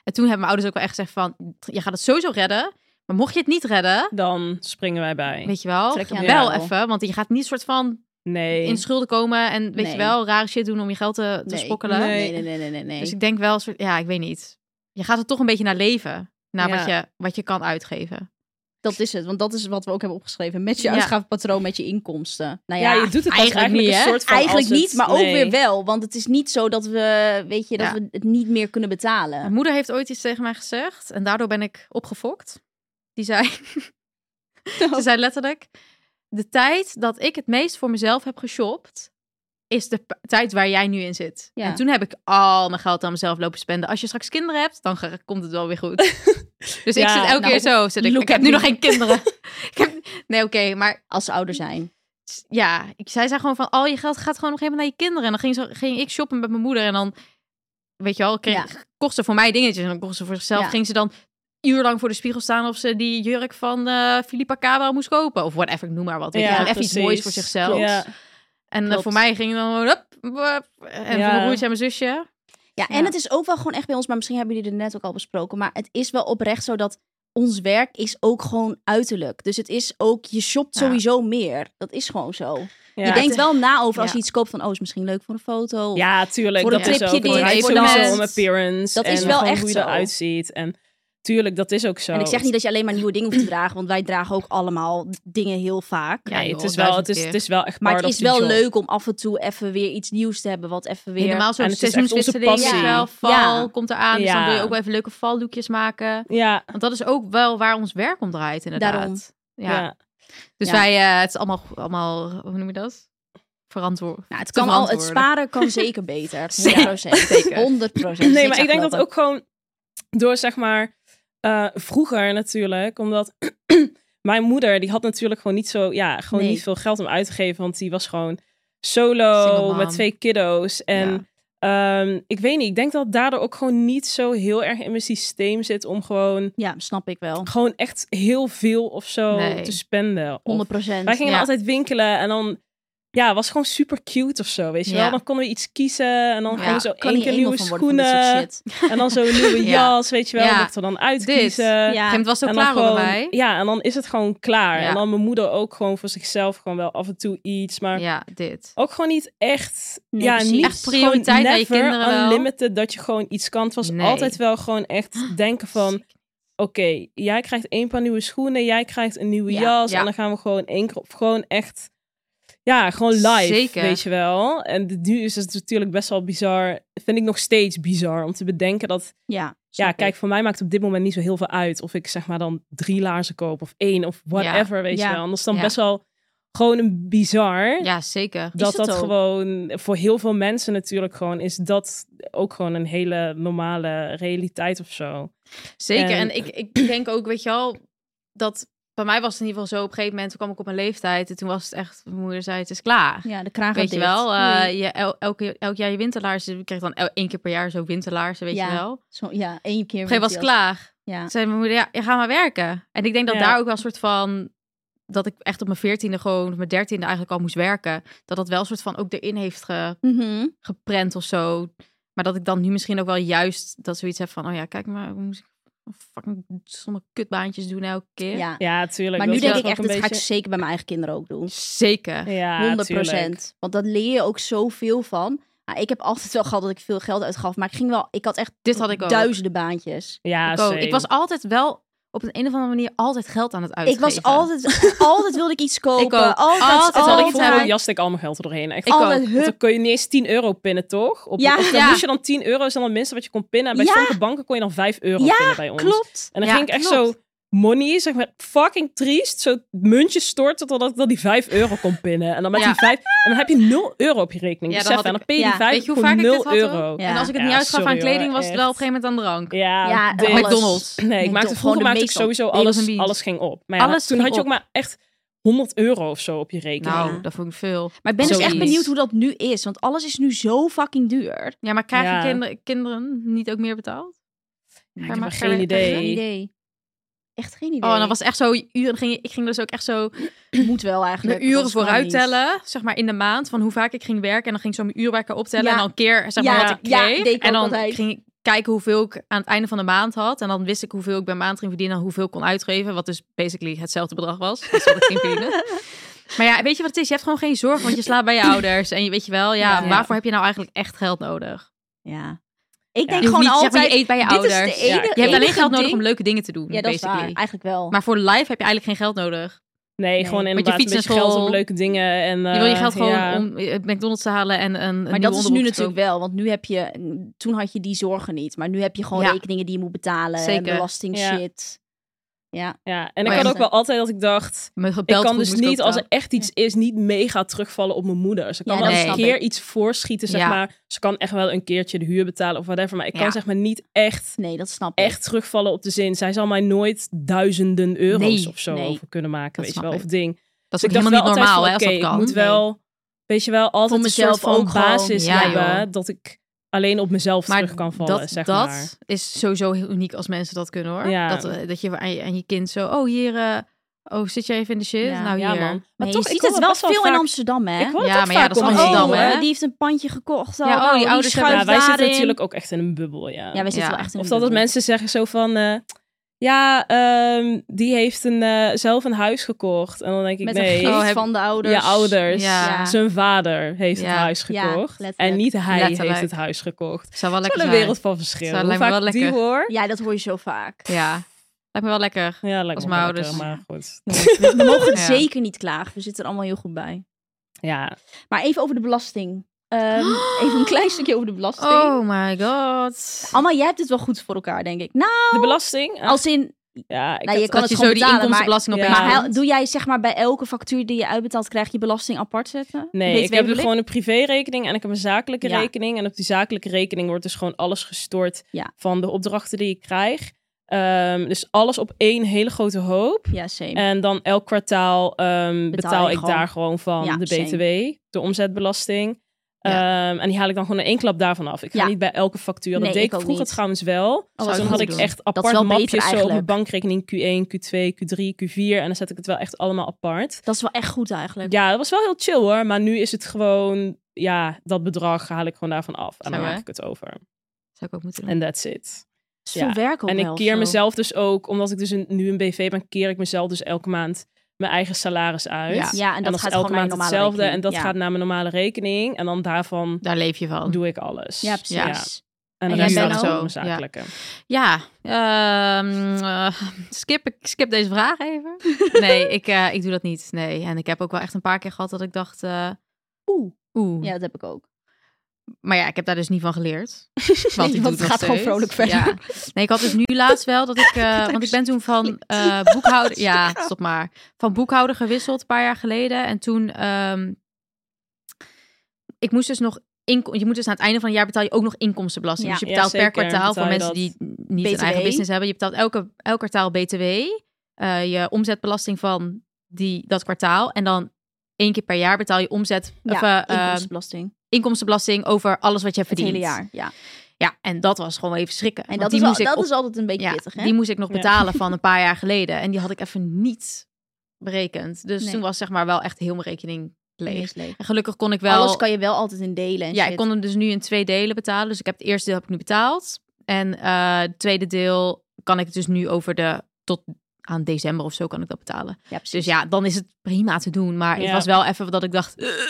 S5: En toen hebben mijn ouders ook wel echt gezegd van, je gaat het sowieso redden. Maar mocht je het niet redden,
S4: Dan springen wij bij.
S5: weet je wel,
S3: Trek je aan de
S5: wel
S3: bel.
S5: even. Want je gaat niet soort van
S4: Nee.
S5: in schulden komen en weet
S3: Nee.
S5: je wel, rare shit doen om je geld te, te
S3: Nee.
S5: spokkelen.
S3: Nee, nee, nee, nee, nee. nee.
S5: Dus ik denk wel, een soort, ja, ik weet niet. Je gaat er toch een beetje naar leven, naar
S4: Ja.
S5: wat, je, wat je kan uitgeven.
S3: Dat is het, want dat is wat we ook hebben opgeschreven. Met je
S5: Ja.
S3: uitgavenpatroon, met je inkomsten. Nou
S4: Ja,
S3: ja,
S4: je doet het pas eigenlijk,
S3: niet,
S4: een
S3: hè?
S4: soort van
S3: Eigenlijk
S4: als het-
S3: niet, maar ook
S4: nee.
S3: weer wel. Want het is niet zo dat we, weet je, dat
S5: Ja.
S3: we het niet meer kunnen betalen.
S5: Mijn moeder heeft ooit iets tegen mij gezegd en daardoor ben ik opgefokt. Die zei,
S3: Oh.
S5: ze zei letterlijk, de tijd dat ik het meest voor mezelf heb geshopt, is de p- tijd waar jij nu in zit.
S3: Ja.
S5: En toen heb ik al mijn geld aan mezelf lopen spenden. Als je straks kinderen hebt, dan ge- komt het wel weer goed. dus ik
S4: Ja,
S5: zit elke
S3: nou,
S5: keer zo. Zit ik,
S3: look
S5: ik heb
S3: at
S5: nu
S3: me.
S5: nog geen kinderen. ik heb, nee, oké, maar
S3: Als ze ouder zijn.
S5: ja, ik, zij zei gewoon van al je geld gaat gewoon op een gegeven moment naar je kinderen. En dan ging, ze, ging ik shoppen met mijn moeder en dan, weet je wel, kreeg, kocht ze voor mij dingetjes en dan kocht ze voor zichzelf.
S3: Ja.
S5: Ging ze dan uur lang voor de spiegel staan of ze die jurk van eh Filippa Cabra moest kopen of whatever, ik noem maar wat. Weet
S4: Ja,
S5: je, wel. even iets
S4: precies.
S5: moois voor zichzelf.
S4: Ja.
S5: En eh,
S3: Klopt.
S5: voor mij ging dan gewoon hup, hup, en
S4: Ja.
S5: voor mijn broertje en mijn zusje.
S3: Ja, en
S5: Ja.
S3: het is ook wel gewoon echt bij ons, maar misschien hebben jullie er net ook al besproken. Maar het is wel oprecht zo dat ons werk is ook gewoon uiterlijk. Dus het is ook, je shopt
S5: Ja.
S3: sowieso meer. Dat is gewoon zo.
S4: Ja.
S3: Je denkt wel na over als
S5: Ja.
S3: je iets koopt van, oh, is misschien leuk voor een foto. of-
S4: Ja, tuurlijk.
S3: Voor een
S4: dat is
S3: tripje
S4: ook
S3: die
S4: het
S3: je
S4: draait
S3: voor
S4: sowieso
S3: dan-
S4: om appearance.
S3: Dat
S4: en
S3: is wel
S4: gewoon
S3: echt
S4: hoe je
S3: zo.
S4: eruit ziet. En tuurlijk, dat is ook zo.
S3: En ik zeg niet dat je alleen maar nieuwe dingen hoeft te dragen, want wij dragen ook allemaal dingen heel vaak.
S5: Ja,
S4: Nee,
S5: joh,
S4: het, is wel, het,
S5: duizend
S4: is,
S5: keer.
S4: het is wel echt
S3: Maar
S4: part
S3: het
S4: of
S3: is
S4: the
S3: wel
S4: job.
S3: leuk om af en toe even weer iets nieuws te hebben, wat even weer...
S5: Normaal zo'n
S4: En het is echt onze
S5: seizoenswisseling, weet je
S4: passie.
S5: wel, val
S3: Ja.
S5: komt eraan. Dus dan
S4: Ja.
S5: wil je ook wel even leuke valdoekjes maken.
S4: Ja,
S5: Want dat is ook wel waar ons werk om draait inderdaad.
S3: Daarom.
S4: ja.
S5: ja. Dus
S3: Ja.
S5: wij, eh, het is allemaal, allemaal, hoe noem je dat? Verantwoord.
S3: Nou, het,
S5: te
S3: kan al, het
S5: verantwoorden.
S3: sparen kan zeker beter. 100%.
S5: Zeker.
S3: 100
S4: Nee, maar ik denk dat ook gewoon door, zeg maar, eh, vroeger natuurlijk, omdat mijn moeder, die had natuurlijk gewoon niet zo, ja, gewoon
S3: Nee.
S4: niet veel geld om uit te geven, want die was gewoon
S5: Single
S4: solo
S5: mom.
S4: met twee kiddo's. En ehm, ik weet niet, ik denk dat daardoor ook gewoon niet zo heel erg in mijn systeem zit om gewoon,
S3: Ja, snap ik wel. 100%.
S4: gewoon echt heel veel of zo
S5: Nee.
S4: te spenden. Of- wij gingen
S5: Ja.
S4: altijd winkelen en dan... Ja, was gewoon super cute of zo, weet je
S5: Ja.
S4: wel? Dan konden we iets kiezen en dan
S5: Ja,
S4: gewoon zo
S3: kan
S4: één
S3: niet
S4: keer
S3: eenmaal
S4: nieuwe
S3: van worden van dit soort
S4: schoenen.
S3: shit.
S4: En dan zo'n nieuwe
S5: Ja.
S4: jas, weet je wel,
S5: Ja.
S4: dat ik er dan
S5: Dit.
S4: uitkiezen.
S5: Op een gegeven moment was het
S4: En
S5: ook
S4: dan
S5: klaar
S4: gewoon,
S5: over mij.
S4: Ja, en dan is het gewoon klaar.
S5: Ja.
S4: En dan mijn moeder ook gewoon voor zichzelf gewoon wel af en toe iets. Maar
S5: Ja, dit.
S4: ook gewoon niet echt...
S3: Nee,
S4: ja,
S3: precies.
S4: niet
S5: Echt prioriteit
S4: gewoon
S5: aan je
S4: never
S5: kinderen wel.
S4: unlimited dat je gewoon iets kan. Het was
S5: Nee.
S4: altijd wel gewoon echt denken van... Oké, jij krijgt één paar nieuwe schoenen. Jij krijgt een nieuwe
S3: Ja,
S4: jas.
S5: ja.
S4: En dan gaan we gewoon één keer op. Gewoon echt... Ja, gewoon live,
S5: Zeker.
S4: weet je wel. En nu is het natuurlijk best wel bizar. Vind ik nog steeds bizar om te bedenken dat
S3: Ja,
S4: ja,
S3: snap
S4: kijk,
S3: ik.
S4: voor mij maakt het op dit moment niet zo heel veel uit of ik zeg maar dan drie laarzen koop of één of whatever, weet
S3: Ja.
S4: je wel. Anders dan
S5: Ja.
S4: best wel gewoon een bizar
S5: Ja, zeker.
S4: dat
S3: Is het
S4: dat
S3: ook?
S4: gewoon voor heel veel mensen natuurlijk gewoon is dat ook gewoon een hele normale realiteit of zo.
S5: Zeker. En,
S4: En-
S5: ik, ik denk ook, weet je wel, dat bij mij was het in ieder geval zo. Op een gegeven moment toen kwam ik op mijn leeftijd en toen was het echt, mijn moeder zei, het is klaar.
S3: Ja, de kraag
S5: Weet
S3: gaat
S5: je
S3: dicht.
S5: wel, eh,
S3: Doei.
S5: je, el- elke, elk jaar je winterlaarzen. Ik kreeg dan el- één keer per jaar zo winterlaarzen, weet
S3: Ja.
S5: je wel. Op een
S3: Zo, ja, één keer.
S5: gegeven moment was het
S3: met
S5: klaar.
S3: die
S5: Toen
S3: jas.
S5: zei mijn moeder, ja, ja, ga maar werken. En ik denk dat
S4: Ja.
S5: daar ook wel een soort van... Dat ik echt op mijn veertiende gewoon, of mijn dertiende eigenlijk al moest werken. Dat dat wel een soort van ook erin heeft ge,
S3: Ja. Mhm.
S5: geprent of zo. Maar dat ik dan nu misschien ook wel juist dat zoiets heb van... Oh ja, kijk maar, hoe moest ik fucking sommige kutbaantjes doen elke keer?
S3: ja.
S4: Ja, tuurlijk.
S3: Maar
S4: dat
S3: nu denk
S4: is wel
S3: ik echt,
S4: ook
S3: dat
S4: een
S3: ga ik
S4: beetje-
S3: zeker bij mijn eigen kinderen ook doen.
S5: Zeker.
S4: Ja,
S3: 100
S4: tuurlijk.
S3: Want dat leer je ook zoveel van. Nou, ik heb altijd wel gehad dat ik veel geld uitgaf, maar ik ging wel, ik had echt
S5: Dit had ik ook.
S3: duizenden baantjes.
S4: Ja,
S5: ik, ook.
S4: same.
S5: ik was altijd wel op een, een of andere manier altijd geld aan het uitgeven.
S3: Ik was altijd, altijd wilde ik iets kopen.
S5: ook.
S3: Altijd,
S5: Altijd
S4: Terwijl ik
S5: altijd.
S4: vroeger jaste ik al mijn geld er doorheen. Echt.
S5: Ik ook.
S3: altijd,
S4: Want
S3: hup,
S4: dan kon je niet eens 10 euro pinnen, toch? Op,
S3: Ja,
S4: of dan
S5: ja.
S4: moest je dan 10 euro, is dan het minste wat je kon pinnen. En bij
S3: Ja.
S4: sommige banken kon je dan 5 euro
S3: Ja,
S4: pinnen bij ons.
S3: klopt.
S4: En dan
S5: Ja,
S4: ging ik echt
S5: klopt.
S4: zo money, zeg maar, fucking triest. Zo muntjes storten totdat ik dan die 5 euro kon pinnen. En dan met
S5: Ja.
S4: die 5... En dan heb je 0 euro op je rekening.
S5: Ja,
S4: Ja,
S5: dan had
S4: en
S5: ik-
S4: dan pin je
S3: ja.
S4: die 5
S5: Weet je hoe
S4: voor
S5: vaak ik
S4: 0
S5: dit had ook?
S4: euro.
S3: Ja.
S5: En als ik het
S4: Ja,
S5: niet uitgaf aan
S4: sorry,
S5: kleding,
S4: hoor,
S5: was het wel op een
S4: echt.
S5: gegeven moment aan drank.
S4: Ja,
S3: Ja,
S4: dit.
S3: alles.
S5: eh, McDonald's.
S4: Nee,
S3: Nee,
S4: ik maakte
S3: toch,
S4: vroeger
S3: gewoon de
S4: maakte ik
S3: meeste.
S4: sowieso
S5: Bagels en
S4: alles,
S5: beans.
S4: alles ging op. Maar ja,
S5: Alles
S4: toen
S5: ging
S4: had je ook
S5: op.
S4: maar echt 100 euro of zo op je rekening.
S5: Nou,
S3: Ja.
S5: dat vond ik veel.
S3: Maar ik ben dus
S4: Zoiets.
S3: echt benieuwd hoe dat nu is. Want alles is nu zo fucking duur.
S5: Ja, maar krijgen
S4: Ja.
S5: kinder- kinderen niet ook meer betaald?
S4: Ja, ik
S5: Maar
S4: heb
S5: maak
S4: er
S5: daar
S4: geen
S5: weer-
S3: Geen
S4: idee.
S3: idee. Echt geen idee.
S5: Oh, en dan was echt zo uren. Ging, ik ging dus ook echt zo
S3: moet wel eigenlijk.
S5: mijn uren
S3: anders kan
S5: vooruit
S3: niet.
S5: tellen, zeg maar in de maand van hoe vaak ik ging werken en dan ging ik zo mijn uur bij elkaar optellen
S3: Ja.
S5: en dan een keer zeg maar
S3: Ja,
S5: wat ik
S3: ja,
S5: kreeg
S3: deed ik
S5: en
S3: ook
S5: dan
S3: altijd.
S5: ging ik kijken hoeveel ik aan het einde van de maand had en dan wist ik hoeveel ik bij maand ging verdienen en hoeveel ik kon uitgeven, wat dus basically hetzelfde bedrag was als wat ik ging verdienen. Maar ja, weet je wat het is? Je hebt gewoon geen zorg, want je slaapt bij je ouders en je weet je wel, ja,
S3: Ja.
S5: waarvoor heb je nou eigenlijk echt geld nodig?
S3: Ja. Ik denk
S5: Je hoeft
S3: gewoon
S5: niet te zeggen,
S3: altijd...
S5: je eet bij je
S3: dit is de
S5: ouders.
S3: ene-
S4: Ja,
S5: Je hebt alleen
S3: enige
S5: geld nodig
S3: ding-
S5: om leuke dingen te doen,
S3: Ja, dat is waar.
S5: basically.
S3: Eigenlijk wel.
S5: Maar voor live heb je eigenlijk geen geld nodig.
S4: Nee,
S3: Nee.
S4: gewoon
S3: Want
S5: je
S4: inderdaad een
S5: fietst naar
S4: beetje geld
S5: school.
S4: op leuke dingen. En,
S5: je wil je
S4: eh,
S5: geld gewoon
S4: ja.
S5: om eh, McDonald's te halen en een, een
S3: Maar
S5: nieuw
S3: dat is nu
S5: onderbroek te
S3: natuurlijk wel, want nu heb je, toen had je die zorgen niet, maar nu heb je gewoon
S5: Ja.
S3: rekeningen die je moet betalen,
S5: Zeker.
S3: belasting
S4: Ja.
S3: shit. Ja,
S4: Ja, en ik
S5: Maar
S4: had
S5: Oh ja,
S4: ook wel altijd dat ik dacht...
S5: kopen. Met
S4: Ik
S5: gebeld
S4: kan
S5: goed
S4: dus
S5: moet ik
S4: niet,
S5: ook
S4: als er
S5: wel.
S4: echt iets is, niet mega terugvallen op mijn moeder. Ze kan
S3: Ja,
S4: wel
S5: dat
S4: eens een
S5: snap
S4: keer
S3: ik.
S4: iets voorschieten, zeg
S5: Ja.
S4: maar. Ze kan echt wel een keertje de huur betalen of whatever. Maar ik kan
S5: Ja.
S4: zeg maar niet echt,
S3: nee, dat snap ik.
S4: echt terugvallen op de zin. Zij zal mij nooit duizenden euro's
S5: Nee,
S4: of zo
S3: nee.
S4: over kunnen maken,
S5: Dat
S4: weet je
S5: snap
S4: wel. Of
S5: ik.
S4: ding.
S5: Dat is
S4: Dus
S5: ook helemaal niet
S4: wel
S5: normaal, hè,
S4: altijd van,
S5: als dat
S4: oké,
S5: kan.
S4: Ik moet wel, weet je wel, altijd
S3: Voor
S4: een soort
S3: mezelf
S4: van
S3: ook gewoon.
S4: basis
S5: Ja,
S4: hebben.
S5: joh.
S4: Dat ik alleen op mezelf terug kan vallen,
S5: dat,
S4: zeg
S5: dat
S4: maar.
S5: is sowieso heel uniek als mensen dat kunnen, hoor.
S4: Ja.
S5: Dat, eh, dat je aan je, aan je kind zo, oh, hier, eh, oh, zit je even in de shit?
S3: Ja.
S5: Nou,
S4: Ja,
S5: hier.
S4: man.
S3: Maar
S4: Maar
S3: toch,
S4: toch,
S3: je
S4: ik
S3: ziet
S4: kom
S3: het
S4: er
S3: wel
S4: best wel
S3: veel in
S4: vaak-
S3: Amsterdam, hè?
S4: Ik hoor
S5: Ja,
S4: toch
S5: maar ja,
S4: vaak
S5: dat is
S4: om
S3: Van,
S4: me
S5: Amsterdam,
S4: heen,
S3: oh,
S5: hè?
S3: eh, die heeft een pandje gekocht.
S5: Ja, oh, die ouders hebben-
S4: Ja,
S3: schuift
S4: wij zitten
S3: daarin.
S4: natuurlijk ook echt in een bubbel, ja.
S3: Ja, wij zitten
S5: Ja.
S3: wel echt in
S4: Of
S3: een
S4: dat, dat
S3: bubbel.
S4: mensen zeggen zo van... eh, ja, ehm, die heeft een, eh, zelf een huis gekocht. En dan denk ik,
S3: Met
S4: nee,
S3: een gift
S5: Oh, heb-
S3: van de ouders.
S4: je ouders.
S5: Ja.
S4: Zijn vader heeft het
S5: Ja.
S4: huis
S3: Ja,
S4: gekocht. en
S3: letterlijk.
S4: niet hij
S5: Letterlijk.
S4: heeft het huis gekocht.
S5: Zou wel
S4: Dat is
S5: lekker
S4: wel een
S5: zijn.
S4: wereld van verschil.
S5: Zou-
S4: Hoe
S5: lijkt me
S4: vaak
S5: wel
S4: ik die
S5: lekker.
S4: hoor.
S3: Ja, dat hoor je zo vaak.
S5: Ja, lijkt me wel lekker.
S4: Ja, lijkt
S5: Als
S4: me
S5: mijn
S4: wel lekker,
S5: ouders.
S4: maar goed.
S3: We mogen het
S5: Ja.
S3: zeker niet klagen. We zitten er allemaal heel goed bij.
S4: Ja,
S3: Maar even over de belasting. Ehm, even een klein stukje over de belasting.
S5: Oh my god.
S3: Amma, jij hebt het wel goed voor elkaar, denk ik. Nou,
S4: de belasting. Ah,
S3: als in...
S4: ja, ik
S3: nou, je
S4: had-
S3: kan het
S5: dat
S3: gewoon
S5: je zo die
S3: betalen, maar-
S5: inkomstenbelasting
S4: Ja.
S5: op
S3: Maar
S5: één
S3: hij-
S5: hand.
S3: doe jij zeg maar bij elke factuur die je uitbetaalt, krijg je belasting apart zetten?
S4: Nee,
S3: Weet
S4: ik
S3: wat
S4: heb
S3: bedoel
S4: gewoon een privérekening en ik heb een zakelijke
S3: Ja.
S4: rekening. En op die zakelijke rekening wordt dus gewoon alles gestort
S3: Ja.
S4: van de opdrachten die ik krijg. Ehm, dus alles op één hele grote hoop.
S3: Ja, same.
S4: En dan elk kwartaal
S3: Betaal
S4: ehm, betaal
S3: je
S4: ik
S3: gewoon.
S4: daar gewoon van
S3: Ja,
S4: de
S3: same.
S4: BTW, de omzetbelasting. Ehm, en die haal ik dan gewoon in één klap daarvan af. Ik ga
S3: Ja.
S4: niet bij elke factuur. Dat
S3: Nee,
S4: deed
S3: ik
S4: ik
S3: ook
S4: vroeger
S3: niet.
S4: trouwens wel.
S5: Oh,
S4: Dus
S5: zou
S4: dan
S5: ik
S4: had
S5: niet
S4: ik
S5: doen.
S4: echt
S3: is wel
S4: apart
S3: beter
S4: mapjes zo op mijn
S3: eigenlijk.
S4: bankrekening Q1, Q2, Q3, Q4. En dan zet ik het wel echt allemaal apart.
S3: Dat is wel echt goed eigenlijk.
S4: Ja, dat was wel heel chill hoor. Maar nu is het gewoon, ja, dat bedrag haal ik gewoon daarvan af. En dan
S5: Zo, hè?
S4: maak ik het over.
S5: Zou ik ook moeten doen.
S4: En that's it.
S3: Dat is veel
S4: ja.
S3: werk ook
S4: en ik
S3: wel,
S4: keer
S3: zo.
S4: mezelf dus ook, omdat ik dus een- nu een BV ben, keer ik mezelf dus elke maand mijn eigen salaris uit.
S5: Ja.
S3: Ja, en dat
S4: is
S3: gaat
S4: elke
S3: gewoon naar je
S4: maand
S3: normale
S4: hetzelfde.
S3: rekening.
S4: En dat
S3: ja.
S4: gaat naar mijn normale rekening. En dan daarvan
S5: Daar leef je van.
S4: doe ik alles.
S3: Ja, precies.
S5: Ja.
S4: En
S3: En
S4: de
S3: jij
S4: rest
S3: bent
S4: dan
S3: ook-
S4: zo.
S5: Ja.
S4: zakelijke.
S5: Ja, ehm, eh, skip, ik skip deze vraag even. Nee, ik, eh, ik doe dat niet. Nee, en ik heb ook wel echt een paar keer gehad dat ik dacht, eh,
S3: Oeh.
S5: oeh.
S3: Ja, dat heb ik ook.
S5: Maar ja, ik heb daar dus niet van geleerd. Want,
S3: want
S5: ik doe
S3: het
S5: nog
S3: gaat gewoon
S5: steeds.
S3: vrolijk verder.
S5: Ja. Nee, ik had dus nu laatst wel dat ik, eh, want ik ben toen van eh, boekhouder, ja, stop maar, van boekhouder gewisseld een paar jaar geleden. En toen, ehm, ik moest dus nog inko- je moet dus aan het einde van het jaar betaal je ook nog inkomstenbelasting.
S3: Ja.
S5: dus
S4: Ja,
S5: je betaalt per
S4: zeker,
S5: kwartaal
S4: betaal
S5: voor
S4: je
S5: mensen
S4: dat.
S5: die niet een
S3: BTW.
S5: eigen business hebben. Je betaalt elke, elk kwartaal BTW, eh, je omzetbelasting van die, dat kwartaal. En dan één keer per jaar betaal je omzet, of, eh,
S3: Ja,
S5: eh,
S3: inkomstenbelasting.
S5: inkomstenbelasting over alles wat je
S3: Het
S5: verdient.
S3: hele jaar, ja.
S5: Ja, en dat was gewoon even schrikken.
S3: En
S5: want
S3: dat,
S5: die
S3: is, al,
S5: moest ik
S3: dat
S5: op-
S3: is altijd een beetje
S5: ja,
S3: pittig, hè?
S5: Die moest ik nog
S4: Ja.
S5: betalen van een paar jaar geleden. En die had ik even niet berekend. Dus
S3: Nee.
S5: toen was zeg maar wel echt heel mijn rekening
S3: Die
S5: leeg.
S3: is leeg.
S5: En gelukkig kon ik wel...
S3: Alles kan je wel altijd in delen en
S5: ja,
S3: shit.
S5: ik kon hem dus nu in twee delen betalen. Dus ik heb het eerste deel heb ik nu betaald. En eh, het tweede deel kan ik dus nu over de... Tot aan december of zo kan ik dat betalen.
S3: Ja, precies.
S5: Dus ja, dan is het prima te doen. Maar het
S4: Ja.
S5: was wel even dat ik dacht... eh,
S3: Ik vind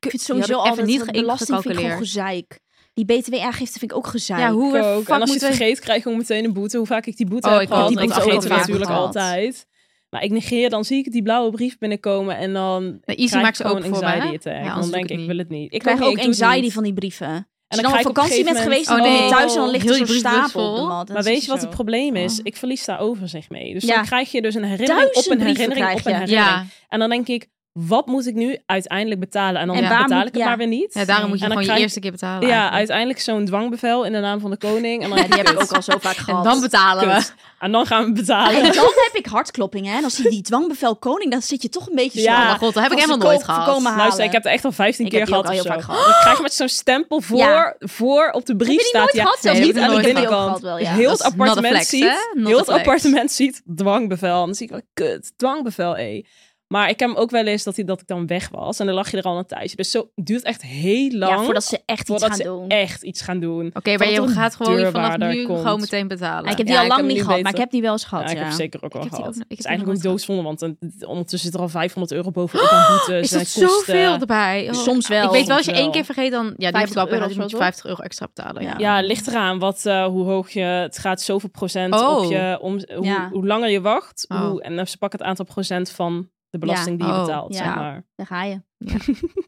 S5: die had
S3: sowieso
S5: ik even
S3: altijd
S5: niet
S3: dat
S5: ge-
S3: belasting vind ik gewoon
S5: ingecalculeerd.
S3: gezeik. Die btw-aangifte vind ik ook gezeik.
S5: ja, hoe
S4: Ik
S5: we
S4: ook. En als je het
S5: moeten we-
S4: vergeet, krijg je ook meteen een boete. Hoe vaak ik die boete
S5: Oh,
S4: heb
S5: ik
S4: gehad,
S5: had
S4: die
S5: dat
S4: boete
S5: ook
S4: vergeten we
S5: vaak
S4: natuurlijk
S5: gehad.
S4: altijd. Maar ik negeer, dan zie ik die blauwe brief binnenkomen en dan
S5: Nee, Easy
S4: krijg
S5: maakt
S4: ik
S5: ze ook
S4: gewoon
S5: voor mij.
S4: anxiety
S5: hè?
S4: attack.
S5: Ja, anders
S4: dan
S5: doe
S4: denk
S5: ik
S4: ik,
S5: het
S4: wil
S5: niet.
S4: het niet.
S3: Ik krijg
S4: niet,
S3: ook
S4: doe het
S3: anxiety
S4: niet.
S3: van die brieven. Als
S4: En
S3: je dan op
S4: ga ik een
S3: vakantie bent
S4: gegeven
S3: geweest,
S4: moment-
S3: dan kom
S5: Oh,
S3: je
S5: nee.
S3: thuis en dan ligt
S5: Heel
S3: er
S5: die
S3: zo'n
S5: brievenbus
S3: stapel op
S5: vol.
S3: de mat. En
S4: Maar
S3: dat is
S4: weet je wat
S3: zo.
S4: het probleem is?
S3: Oh.
S4: Ik verlies daar overzicht mee. Dus
S3: Ja.
S4: dan krijg je dus een herinnering op
S3: Duizend
S4: een
S3: brieven
S4: herinnering op
S3: krijg
S4: een
S3: je.
S4: herinnering.
S5: Ja,
S4: En dan denk ik, wat moet ik nu uiteindelijk betalen? En dan
S5: En waar
S4: betaal
S3: moet-
S4: ik het
S3: ja.
S4: maar weer niet.
S5: ja, daarom moet je
S4: En dan
S5: gewoon je
S4: krijg je-
S5: eerste keer betalen.
S4: Ja,
S5: eigenlijk.
S4: uiteindelijk zo'n dwangbevel in de naam van de koning. En dan,
S3: Ja, die heb ik ook al zo vaak
S5: En
S3: gehad.
S5: dan betalen we.
S4: Kut. en dan gaan we
S3: En
S4: betalen.
S3: dan heb ik hartkloppingen. hè. En als je die dwangbevel koning, dan zit je toch een beetje
S4: Ja.
S3: zo.
S5: Oh mijn god, dat heb ik
S3: Als
S5: helemaal
S3: ze
S5: nooit
S3: koop-
S5: gehad.
S3: voorkomen halen.
S4: Luister, ik heb het echt al 15
S3: Ik
S4: keer
S3: heb die ook
S4: gehad.
S3: al
S4: of
S3: heel
S4: zo.
S3: vaak gehad.
S4: Dan krijg je met zo'n stempel voor,
S3: Ja.
S4: voor op de brief
S3: Heb je die
S4: staat.
S3: nooit
S4: ja,
S3: gehad? Zelfs
S5: Nee,
S4: niet
S5: heb ik
S4: aan de
S5: nooit
S3: gehad.
S4: binnenkant.
S3: Gehad wel,
S4: Dus
S3: ja.
S4: heel
S5: Dat
S4: het
S5: is not a
S4: appartement
S5: flex, hè?
S4: ziet,
S5: Not a
S4: heel het
S5: flex.
S4: appartement ziet dwangbevel. En dan zie ik wel, kut, dwangbevel, hé. Maar ik heb hem ook wel eens dat, hij, dat ik dan weg was. En dan lag je er al een tijdje. Dus zo het duurt echt heel lang
S3: Ja, voordat ze echt iets
S4: voordat
S3: gaan
S4: ze
S3: doen.
S4: echt iets gaan doen.
S5: Oké, maar je
S4: Tot een
S5: gaat gewoon vanaf
S4: deurwaarder
S5: nu
S4: komt.
S5: gewoon meteen betalen.
S3: Ah, ik heb die
S4: Ja,
S3: al
S4: ik
S3: lang
S4: heb
S3: niet
S4: nu
S3: gehad, maar
S4: beter.
S3: ik heb die wel eens gehad.
S4: ja,
S3: Ja,
S4: ik heb hem zeker ook al
S5: heb die
S4: gehad.
S5: ook nog- ik
S4: het is
S5: heb
S4: eigenlijk
S5: die
S4: ook
S5: nog nooit
S4: doodzonde, want dan, ondertussen zit er al 500 euro bovenop
S3: Oh,
S4: aan boetes.
S5: is
S4: en
S5: dat
S4: kosten.
S5: zoveel erbij? Oh.
S3: Soms wel.
S5: Ik weet wel, als je
S4: Soms
S5: één
S4: wel.
S5: keer vergeet, dan ja, die heb ik
S3: 50
S5: ook bij
S3: euro
S5: gehad, dan
S3: of
S5: moet
S3: zo,
S5: je 50 euro extra betalen. Ja.
S4: Ja, ligt eraan wat, eh, hoe hoog je... Het gaat zoveel procent
S5: Oh.
S4: op je... Om, hoe,
S3: Ja.
S4: hoe langer je wacht.
S5: Oh.
S4: Hoe, en dan ze pakken het aantal procent van de belasting die je
S5: Oh,
S4: betaalt,
S3: ja.
S4: zeg maar.
S3: Daar ga je.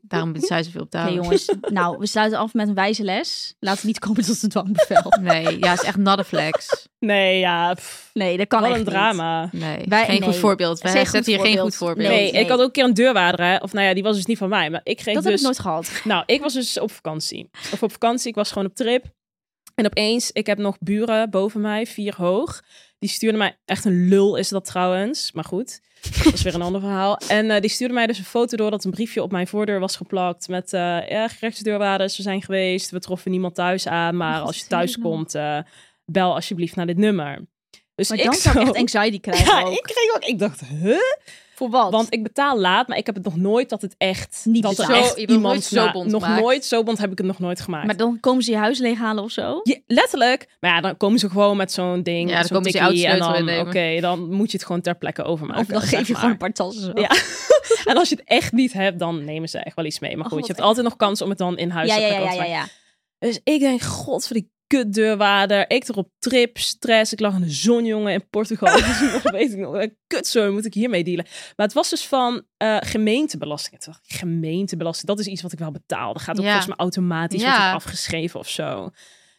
S5: Daarom zijn ze veel
S3: Oké,
S5: betalen.
S3: jongens. nou, we sluiten af met een wijze les. Laten we niet komen tot een dwangbevel.
S5: Nee, ja, is echt not a flex.
S4: Nee, ja, pff,
S3: Nee, dat kan
S4: wat
S3: echt
S4: een
S3: niet.
S4: drama.
S5: Nee,
S3: Wij-
S5: geen goed
S3: nee.
S5: voorbeeld. Wij
S3: Geen goed
S5: zetten hier geen
S3: voorbeeld.
S5: goed voorbeeld.
S4: Nee,
S3: Nee,
S4: en ik had ook een keer een deurwaarder, hè. Of nou ja, die was dus niet van mij. Maar ik kreeg
S3: Dat heb
S4: dus...
S3: ik nooit gehad.
S4: Nou, ik was dus op vakantie. Of op vakantie, ik was gewoon op trip. En opeens, ik heb nog buren boven mij, vier hoog. Die stuurden mij, echt een lul is dat trouwens, maar goed. Dat is weer een ander verhaal. En eh, die stuurde mij dus een foto door dat een briefje op mijn voordeur was geplakt. Met eh ja, gerechtsdeurwaarders, we zijn geweest. We troffen niemand thuis aan. Maar
S3: Wat
S4: als je
S3: is dit
S4: thuis
S3: nou?
S4: komt, eh, bel alsjeblieft naar dit nummer. Dus
S3: Maar
S4: ik
S3: dan zou ik
S4: zo-
S3: echt anxiety krijgen
S4: Ja,
S3: ook.
S4: ik kreeg ook. Ik dacht, huh?
S3: Voor wat?
S4: Want ik betaal laat, maar ik heb het nog nooit dat het echt
S3: Niet
S4: dat er
S3: betaald.
S4: echt
S5: Zo- je bent
S4: iemand
S5: nooit zo
S4: na-
S5: bond
S4: nog
S5: gemaakt.
S4: nooit zo bond heb ik het nog nooit gemaakt.
S3: maar dan komen ze je huis leeghalen of zo?
S4: Je- letterlijk. Maar ja, dan komen ze gewoon met zo'n ding.
S5: Ja,
S4: met
S5: dan
S4: zo'n
S5: komen ze je
S4: tikkie en
S5: autosleutel
S4: dan, Oké,
S5: innemen.
S4: dan moet je het gewoon ter plekke overmaken.
S3: of dan
S4: zeg
S3: geef je
S4: maar.
S3: gewoon een paar tassen zo.
S4: Ja. En als je het echt niet hebt, dan nemen ze echt wel iets mee. Maar
S3: Oh,
S4: goed,
S3: wat
S4: je hebt
S3: erg.
S4: altijd nog kans om het dan in huis
S3: ja,
S4: te
S3: ja, ja,
S4: pakken,
S3: ja,
S4: want
S3: ja,
S4: wij-
S3: ja.
S4: Dus ik denk, god, voor die kutdeurwaarder. Ik erop trip, stress. Ik lag in de zon, jongen, in Portugal. Dus nog weet ik nog, kut zo, moet ik hiermee dealen. Maar het was dus van eh, gemeentebelasting. Ik dacht, gemeentebelasting, dat is iets wat ik wel betaal. Dat gaat ook
S5: Ja.
S4: volgens mij automatisch
S5: Ja.
S4: wordt het afgeschreven of zo.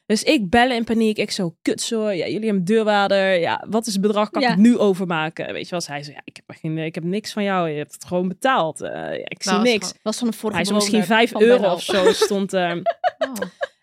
S4: Dus ik bellen in paniek. Ik zo, kut zo, ja, jullie hebben deurwaarder. Ja, wat is het bedrag? Kan
S3: Ja.
S4: ik het nu overmaken? Weet je wel, hij zei, ja, ik heb, echt geen, ik heb niks van jou. Je hebt het gewoon betaald. Eh, ja, ik zie
S5: Nou, dat is
S4: niks.
S3: Was van de vorige
S4: Hij zei misschien
S3: bewoner
S4: 5
S3: van
S4: euro
S3: Bernal.
S4: of zo stond er.
S5: Oh.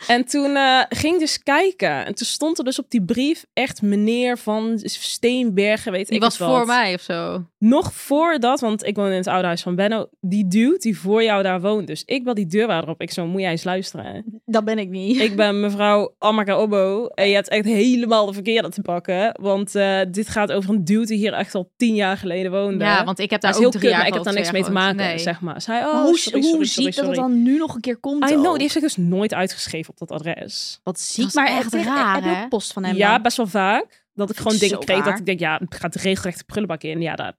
S4: En toen eh, ging ik dus kijken. En toen stond er dus op die brief echt meneer van Steenbergen, weet
S5: Die
S4: ik
S5: was
S4: het wat.
S5: voor mij of zo.
S4: Nog voordat, want ik woon in het oude huis van Benno. Die dude die voor jou daar woont. Dus ik bel die deurwaarder op. Ik zo, moet jij eens luisteren.
S3: Dat ben ik niet.
S4: Ik ben mevrouw Amaka Obo. En je hebt echt helemaal de verkeerde te pakken. Want eh, dit gaat over een dude die hier echt al tien jaar geleden woonde.
S5: Ja, want ik heb daar
S4: dat is
S5: ook
S4: heel
S5: drie
S4: kut,
S5: jaar
S4: maar ik heb daar
S5: gewoond,
S4: niks
S5: twee
S4: mee te maken,
S5: jaar gewoond. Nee.
S4: zeg maar. Zij, oh,
S3: Maar hoe
S4: sorry,
S3: hoe
S4: sorry,
S3: ziek
S4: sorry,
S3: dat het
S4: sorry.
S3: dan nu nog een keer komt? oh.
S4: I know,
S3: ook?
S4: die heeft zich dus nooit uitgeschreven op dat adres.
S3: Wat
S5: Dat
S3: ziek,
S5: is
S3: maar
S5: echt
S3: echt raar.
S5: raar,
S3: Heb je
S5: hè?
S3: ook post van hem?
S4: Ja,
S3: dan?
S4: best wel vaak. Dat ik
S3: ik
S4: gewoon dingen
S3: zo
S4: kreeg dat
S3: raar.
S4: ik denk, ja, het gaat regelrecht de prullenbak in. Ja, daar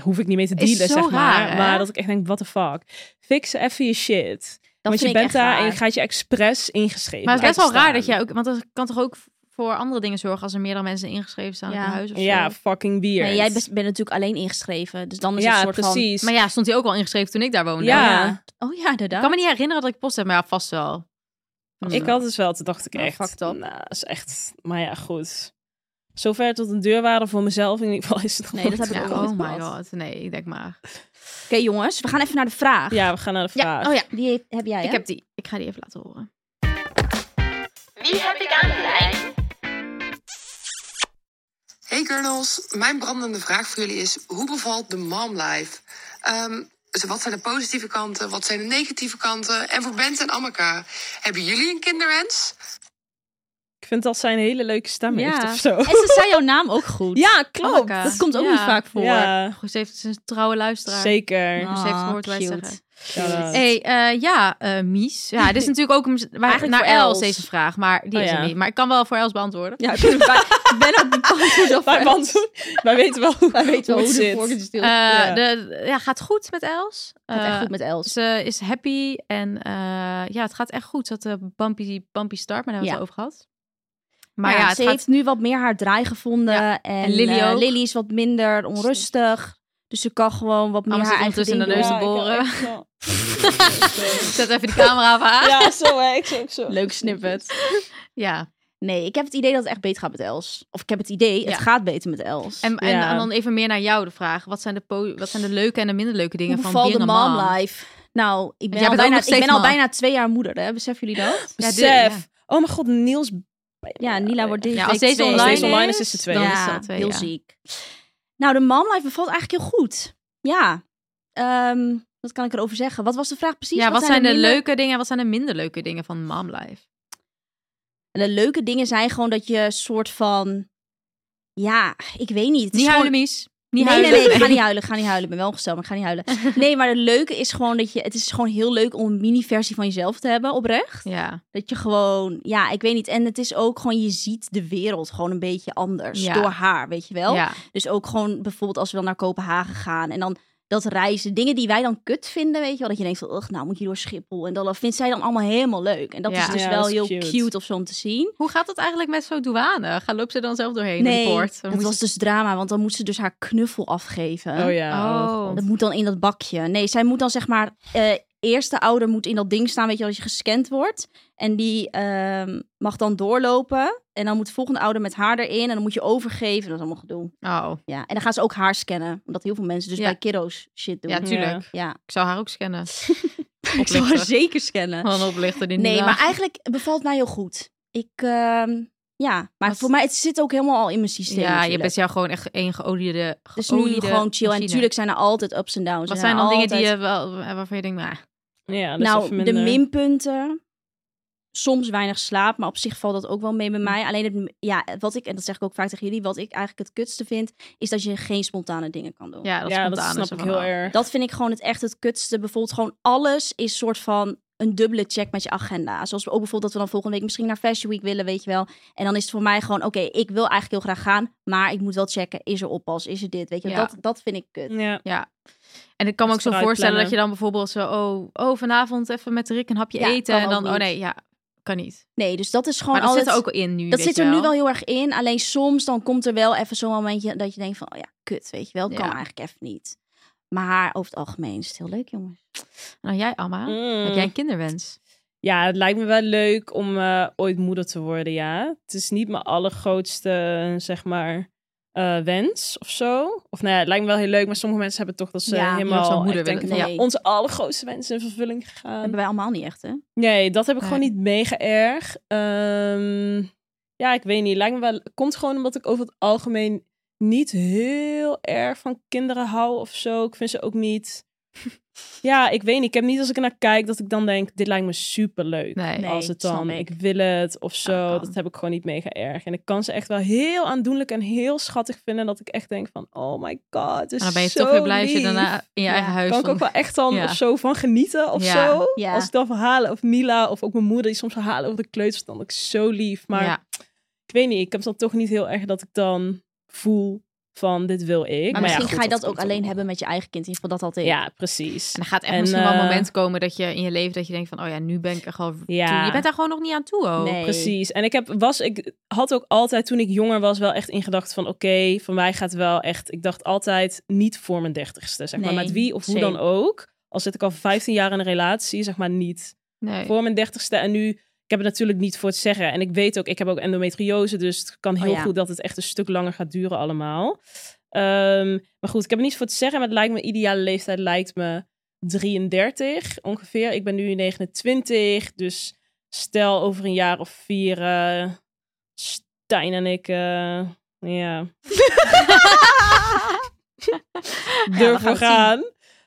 S4: hoef ik niet mee te
S5: Is
S4: dealen,
S5: zo
S4: zeg maar.
S5: raar, hè?
S4: maar dat ik echt denk, what the fuck. Fix even je shit.
S3: Dat
S4: want
S3: vind
S4: je
S3: ik
S4: bent
S3: echt
S4: daar en
S3: raar.
S4: je gaat je expres ingeschreven.
S5: Maar het is best wel
S4: laten
S5: raar dat
S4: staan.
S5: jij ook... Want dat kan toch ook voor andere dingen zorgen als er meerdere mensen ingeschreven staan
S3: Ja.
S5: op je huis of
S4: Ja,
S5: zo?
S4: fucking weird.
S3: Nee, jij best- bent natuurlijk alleen ingeschreven. Dus dan is het
S4: ja,
S3: een soort van...
S4: precies.
S5: Maar ja, stond hij ook al ingeschreven toen ik daar woonde?
S4: Ja.
S3: Oh ja,
S5: Ik
S3: inderdaad.
S5: kan me niet herinneren dat ik post heb, maar ja, vast wel. Vast
S4: Ik
S5: wel.
S4: had dus wel, toen dacht ik
S5: Oh,
S4: echt,
S5: fucked up.
S4: nou, is echt... Maar ja, goed. Zover tot een deurwaarde voor mezelf in ieder geval is het nog
S3: Nee, dat
S4: nooit
S3: heb ik
S5: Ja,
S3: ook
S4: gebeurd.
S3: nooit
S5: oh my
S3: gehad.
S5: god. Nee, ik denk maar.
S3: Oké, jongens. We gaan even naar de vraag.
S4: Ja, we gaan naar de vraag.
S5: Ja, oh ja.
S3: Die heeft- heb jij, hè?
S5: Ik heb die. Ik ga die even laten horen.
S1: Wie heb ik aan de lijn?
S7: Hey girls, mijn brandende vraag voor jullie is: hoe bevalt de momlife? Ehm, dus wat zijn de positieve kanten? Wat zijn de negatieve kanten? En voor Bent en Amaka, hebben jullie een kinderwens?
S4: Ik vind dat zij een hele leuke stem
S5: Ja.
S4: heeft of zo.
S3: En ze zei jouw naam ook goed.
S4: Ja, klopt.
S5: Anneke.
S3: Oh, Dat komt ook
S5: eh, Ja.
S3: niet vaak voor.
S4: Ja.
S5: Goed, ze heeft ze is een trouwe luisteraar.
S4: Zeker.
S3: Nou,
S5: Dus ze heeft
S3: Ah,
S5: gehoord wat wij
S3: cute.
S5: zeggen.
S4: Shout-out.
S5: Hey, eh, ja, eh, Mies. Ja, dit is natuurlijk ook een- waar-
S3: Eigenlijk
S5: naar
S3: voor Els.
S5: Els deze vraag, maar die
S4: Oh,
S5: is
S4: ja.
S5: er niet. Maar ik kan wel voor Els beantwoorden.
S3: Ja, ik ben ook beantwoord over.
S4: Wij, want, wij weten wel hoe,
S3: Wij weten wel
S4: het
S3: hoe de
S4: zit.
S3: vorige zit.
S5: Eh,
S3: Gaat
S4: Ja.
S5: De, ja, gaat goed met Els.
S3: echt
S5: Eh,
S3: goed met Els.
S5: Ze is happy en eh, ja, het gaat echt goed. Ze had een bumpy, bumpy start, maar daar hebben we
S3: Ja.
S5: het over gehad. Maar ja,
S3: Ja,
S5: het
S3: ze
S5: gaat...
S3: heeft nu wat meer haar draai gevonden.
S5: Ja,
S3: En,
S5: en Lily
S3: eh,
S5: ook.
S3: Lily is wat minder onrustig. Dus ze kan gewoon wat meer
S5: Allemaal
S3: haar
S5: zit
S3: eigen
S5: ondertussen
S3: ding
S5: in de neus
S3: doen.
S5: te boren.
S4: Ja,
S5: Zet even die camera van haar. Ja.
S4: ja, zo hè. Ik zo, ik zo.
S3: Leuk snippet. Nee, ik heb het idee dat het echt beter gaat met Els. Of ik heb het idee, het
S5: Ja.
S3: gaat beter met Els.
S5: En, en,
S4: Ja.
S5: en dan even meer naar jou de vraag. Wat zijn de, po- wat zijn de leuke en de minder leuke dingen
S3: Hoe
S5: van
S3: bevalt de
S5: being a
S3: mom life? Nou, ik ben, al
S5: jij bent ook
S3: bijna,
S5: nog
S3: ik
S5: steeds
S3: ben al
S5: mom.
S3: bijna twee jaar moeder, hè? Beseffen jullie dat?
S5: Ja, dit-
S4: Besef.
S5: ja.
S4: Oh mijn god, Niels.
S3: Ja, Nila wordt dit.
S5: Ja, als deze
S4: Als
S5: online
S4: deze online is,
S5: is,
S4: is de tweede.
S5: dan-
S4: Ja.
S5: is dat twee,
S3: heel
S5: ja.
S3: ziek. Nou, de momlife bevalt eigenlijk heel goed. Ja. Ehm, wat kan ik erover zeggen? Wat was de vraag precies?
S5: Ja, wat zijn de
S3: minder-
S5: leuke dingen en wat zijn de minder leuke dingen van momlife?
S3: De leuke dingen zijn gewoon dat je soort van... Ja, ik weet niet. Het is
S5: Niet
S3: gewoon-
S5: huilen, Mies. Niet
S3: nee,
S5: huilen.
S3: nee, nee, ik ga niet huilen, ik ga niet huilen. Ik ben wel ongesteld, maar ik ga niet huilen. Nee, maar het leuke is gewoon dat je... Het is gewoon heel leuk om een mini-versie van jezelf te hebben, oprecht.
S5: Ja.
S3: Dat je gewoon... Ja, ik weet niet. En het is ook gewoon... Je ziet de wereld gewoon een beetje anders
S5: Ja.
S3: door haar, weet je wel?
S5: ja.
S3: Dus ook gewoon bijvoorbeeld als we dan naar Kopenhagen gaan en dan dat reizen, dingen die wij dan kut vinden, weet je wel, dat je denkt van, "Ugh, nou moet je door Schiphol en dat vindt zij dan allemaal helemaal leuk. En dat
S5: Ja.
S3: is dus
S4: Ja,
S3: wel
S4: dat is
S3: heel
S4: cute.
S3: cute. of zo om te zien.
S5: Hoe gaat dat eigenlijk met zo'n douane? Gaan loopt ze dan zelf doorheen
S3: nee,
S5: in de poort? Dan
S3: dat
S5: moet
S3: was
S5: ze-
S3: dus drama, want dan moet ze dus haar knuffel afgeven.
S4: Oh ja.
S5: Oh.
S3: Dat moet dan in dat bakje. Nee, zij moet dan zeg maar, eh eerst de ouder moet in dat ding staan, weet je wel, als je gescand wordt. En die ehm, mag dan doorlopen. En dan moet de volgende ouder met haar erin. En dan moet je overgeven. Dat is allemaal gedoe.
S5: Oh,
S3: Ja, en dan gaan ze ook haar scannen. Omdat heel veel mensen dus
S5: Ja.
S3: bij kiddo's shit doen.
S5: ja, tuurlijk.
S3: Ja,
S5: Ik zou haar ook scannen.
S3: ik zal haar
S5: Oplichter.
S3: zeker scannen.
S5: Gewoon oplichter die
S3: Nee,
S5: niet
S3: maar
S5: lacht.
S3: eigenlijk bevalt mij heel goed. Ik, ehm, ja, maar
S5: Wat-
S3: voor mij, het zit ook helemaal al in mijn systeem.
S5: Ja, je
S3: natuurlijk.
S5: bent jou gewoon echt één geoliede
S3: Dus nu
S5: geoliede
S3: gewoon chill. En
S5: machine.
S3: natuurlijk zijn er altijd ups en downs.
S5: Wat
S3: Er
S5: zijn dan dingen die
S3: altijd-
S5: je wel, waarvan je denkt, nou,
S4: ja dus even
S3: nou, de
S4: minder.
S3: minpunten. Soms weinig slaap, maar op zich valt dat ook wel mee bij
S5: Hm.
S3: mij. Alleen, het, ja, wat ik, en dat zeg ik ook vaak tegen jullie, wat ik eigenlijk het kutste vind, is dat je geen spontane dingen kan doen.
S5: ja, dat,
S4: Ja,
S5: spontaan
S4: dat
S5: is
S4: snap
S5: er
S4: ik
S5: van,
S4: heel
S5: oh.
S4: erg.
S3: Dat vind ik gewoon het echt het kutste. Bijvoorbeeld gewoon alles is soort van een dubbele check met je agenda. Zoals ook bijvoorbeeld dat we dan volgende week misschien naar Fashion Week willen, weet je wel. En dan is het voor mij gewoon, oké, ik wil eigenlijk heel graag gaan, maar ik moet wel checken, is er oppas, is er dit, weet je wel.
S5: Ja.
S3: Dat, dat vind ik kut.
S4: Ja.
S5: En ik kan me
S4: Dat
S5: ook zo
S4: vooruit
S5: voorstellen dat
S4: plannen.
S5: je dan bijvoorbeeld zo, oh, oh vanavond even met Rick een hapje
S3: Ja,
S5: eten.
S3: kan
S5: En
S3: ook
S5: dan, oh
S3: niet.
S5: nee, ja, kan niet.
S3: Nee, dus dat is gewoon
S5: Maar dat
S3: altijd...
S5: zit er ook al in nu.
S3: dat
S5: weet
S3: zit
S5: je
S3: er nu wel heel erg in. Alleen soms dan komt er wel even zo'n momentje dat je denkt van, oh ja, kut, weet je wel. Kan
S5: Ja.
S3: eigenlijk even niet. Maar over het algemeen is het heel leuk, jongens.
S5: Nou, jij, Amma,
S4: Mm.
S5: heb jij een kinderwens?
S4: Ja, het lijkt me wel leuk om eh, ooit moeder te worden, ja. Het is niet mijn allergrootste, zeg maar, eh, wens of zo. Of nou ja, het lijkt me wel heel leuk, maar sommige mensen hebben toch dat ze
S3: Ja, je
S5: moet wel
S4: helemaal
S5: moeder
S4: echt denken
S3: willen.
S4: van,
S3: Nee.
S4: ja, onze allergrootste wens is in vervulling
S3: Dat
S4: gegaan.
S3: hebben wij allemaal niet echt, hè?
S4: Nee, dat heb ik
S5: Nee.
S4: gewoon niet mega erg. Ehm, ja, ik weet niet. Lijkt me wel. Komt gewoon omdat ik over het algemeen niet heel erg van kinderen hou of zo. Ik vind ze ook niet. Ja, ik weet niet. Ik heb niet als ik ernaar kijk dat ik dan denk: dit lijkt me super leuk.
S5: Nee.
S3: Nee,
S4: als het
S3: snap
S4: dan,
S3: ik.
S4: ik. wil het of zo.
S5: dat kan.
S4: dat heb ik gewoon niet mega erg. En ik kan ze echt wel heel aandoenlijk en heel schattig vinden. Dat ik echt denk: van, oh my god. Het is
S5: En dan ben je
S4: zo
S5: toch weer blij als je
S4: lief.
S5: daarna in je
S3: Ja,
S5: eigen huis
S4: Kan ik ook wel echt dan
S5: Ja.
S4: of zo van genieten of
S5: Ja.
S4: zo?
S3: Ja.
S4: Als ik dan verhalen, of Mila, of ook mijn moeder die soms verhalen over de kleuters, dan ook zo lief. Maar
S5: Ja.
S4: ik weet niet, ik heb dan toch niet heel erg dat ik dan voel van dit wil ik.
S3: Maar,
S4: ja,
S3: misschien
S4: goed,
S3: ga je dat, ook
S4: komt
S3: alleen
S4: nog.
S3: hebben met je eigen kind. In ieder geval dat altijd.
S4: Ja, precies.
S5: En er gaat echt
S4: En,
S5: misschien wel een
S4: eh,
S5: moment komen dat je in je leven dat je denkt van, oh ja, nu ben ik er gewoon
S4: Ja.
S5: toe. Je bent daar gewoon nog niet aan toe, oh.
S3: Nee.
S4: Precies. En ik, heb, was, ik had ook altijd toen ik jonger was wel echt in gedachten van oké, van mij gaat wel echt. Ik dacht altijd niet voor mijn dertigste, zeg maar.
S3: Nee,
S4: Met wie of hoe
S3: same.
S4: dan ook. Al zit ik al 15 jaar in een relatie, zeg maar niet.
S5: Nee.
S4: voor mijn dertigste. En nu, ik heb het natuurlijk niet voor het zeggen. En ik weet ook, ik heb ook endometriose. Dus het kan heel
S3: Oh ja.
S4: goed dat het echt een stuk langer gaat duren allemaal. Ehm, maar goed, ik heb het niet voor het zeggen. Maar het lijkt me, ideale leeftijd lijkt me 33 ongeveer. Ik ben nu 29. Dus stel over een jaar of vier, eh, Stijn en ik... eh, ja.
S5: we gaan
S4: Durven
S5: het
S4: gaan.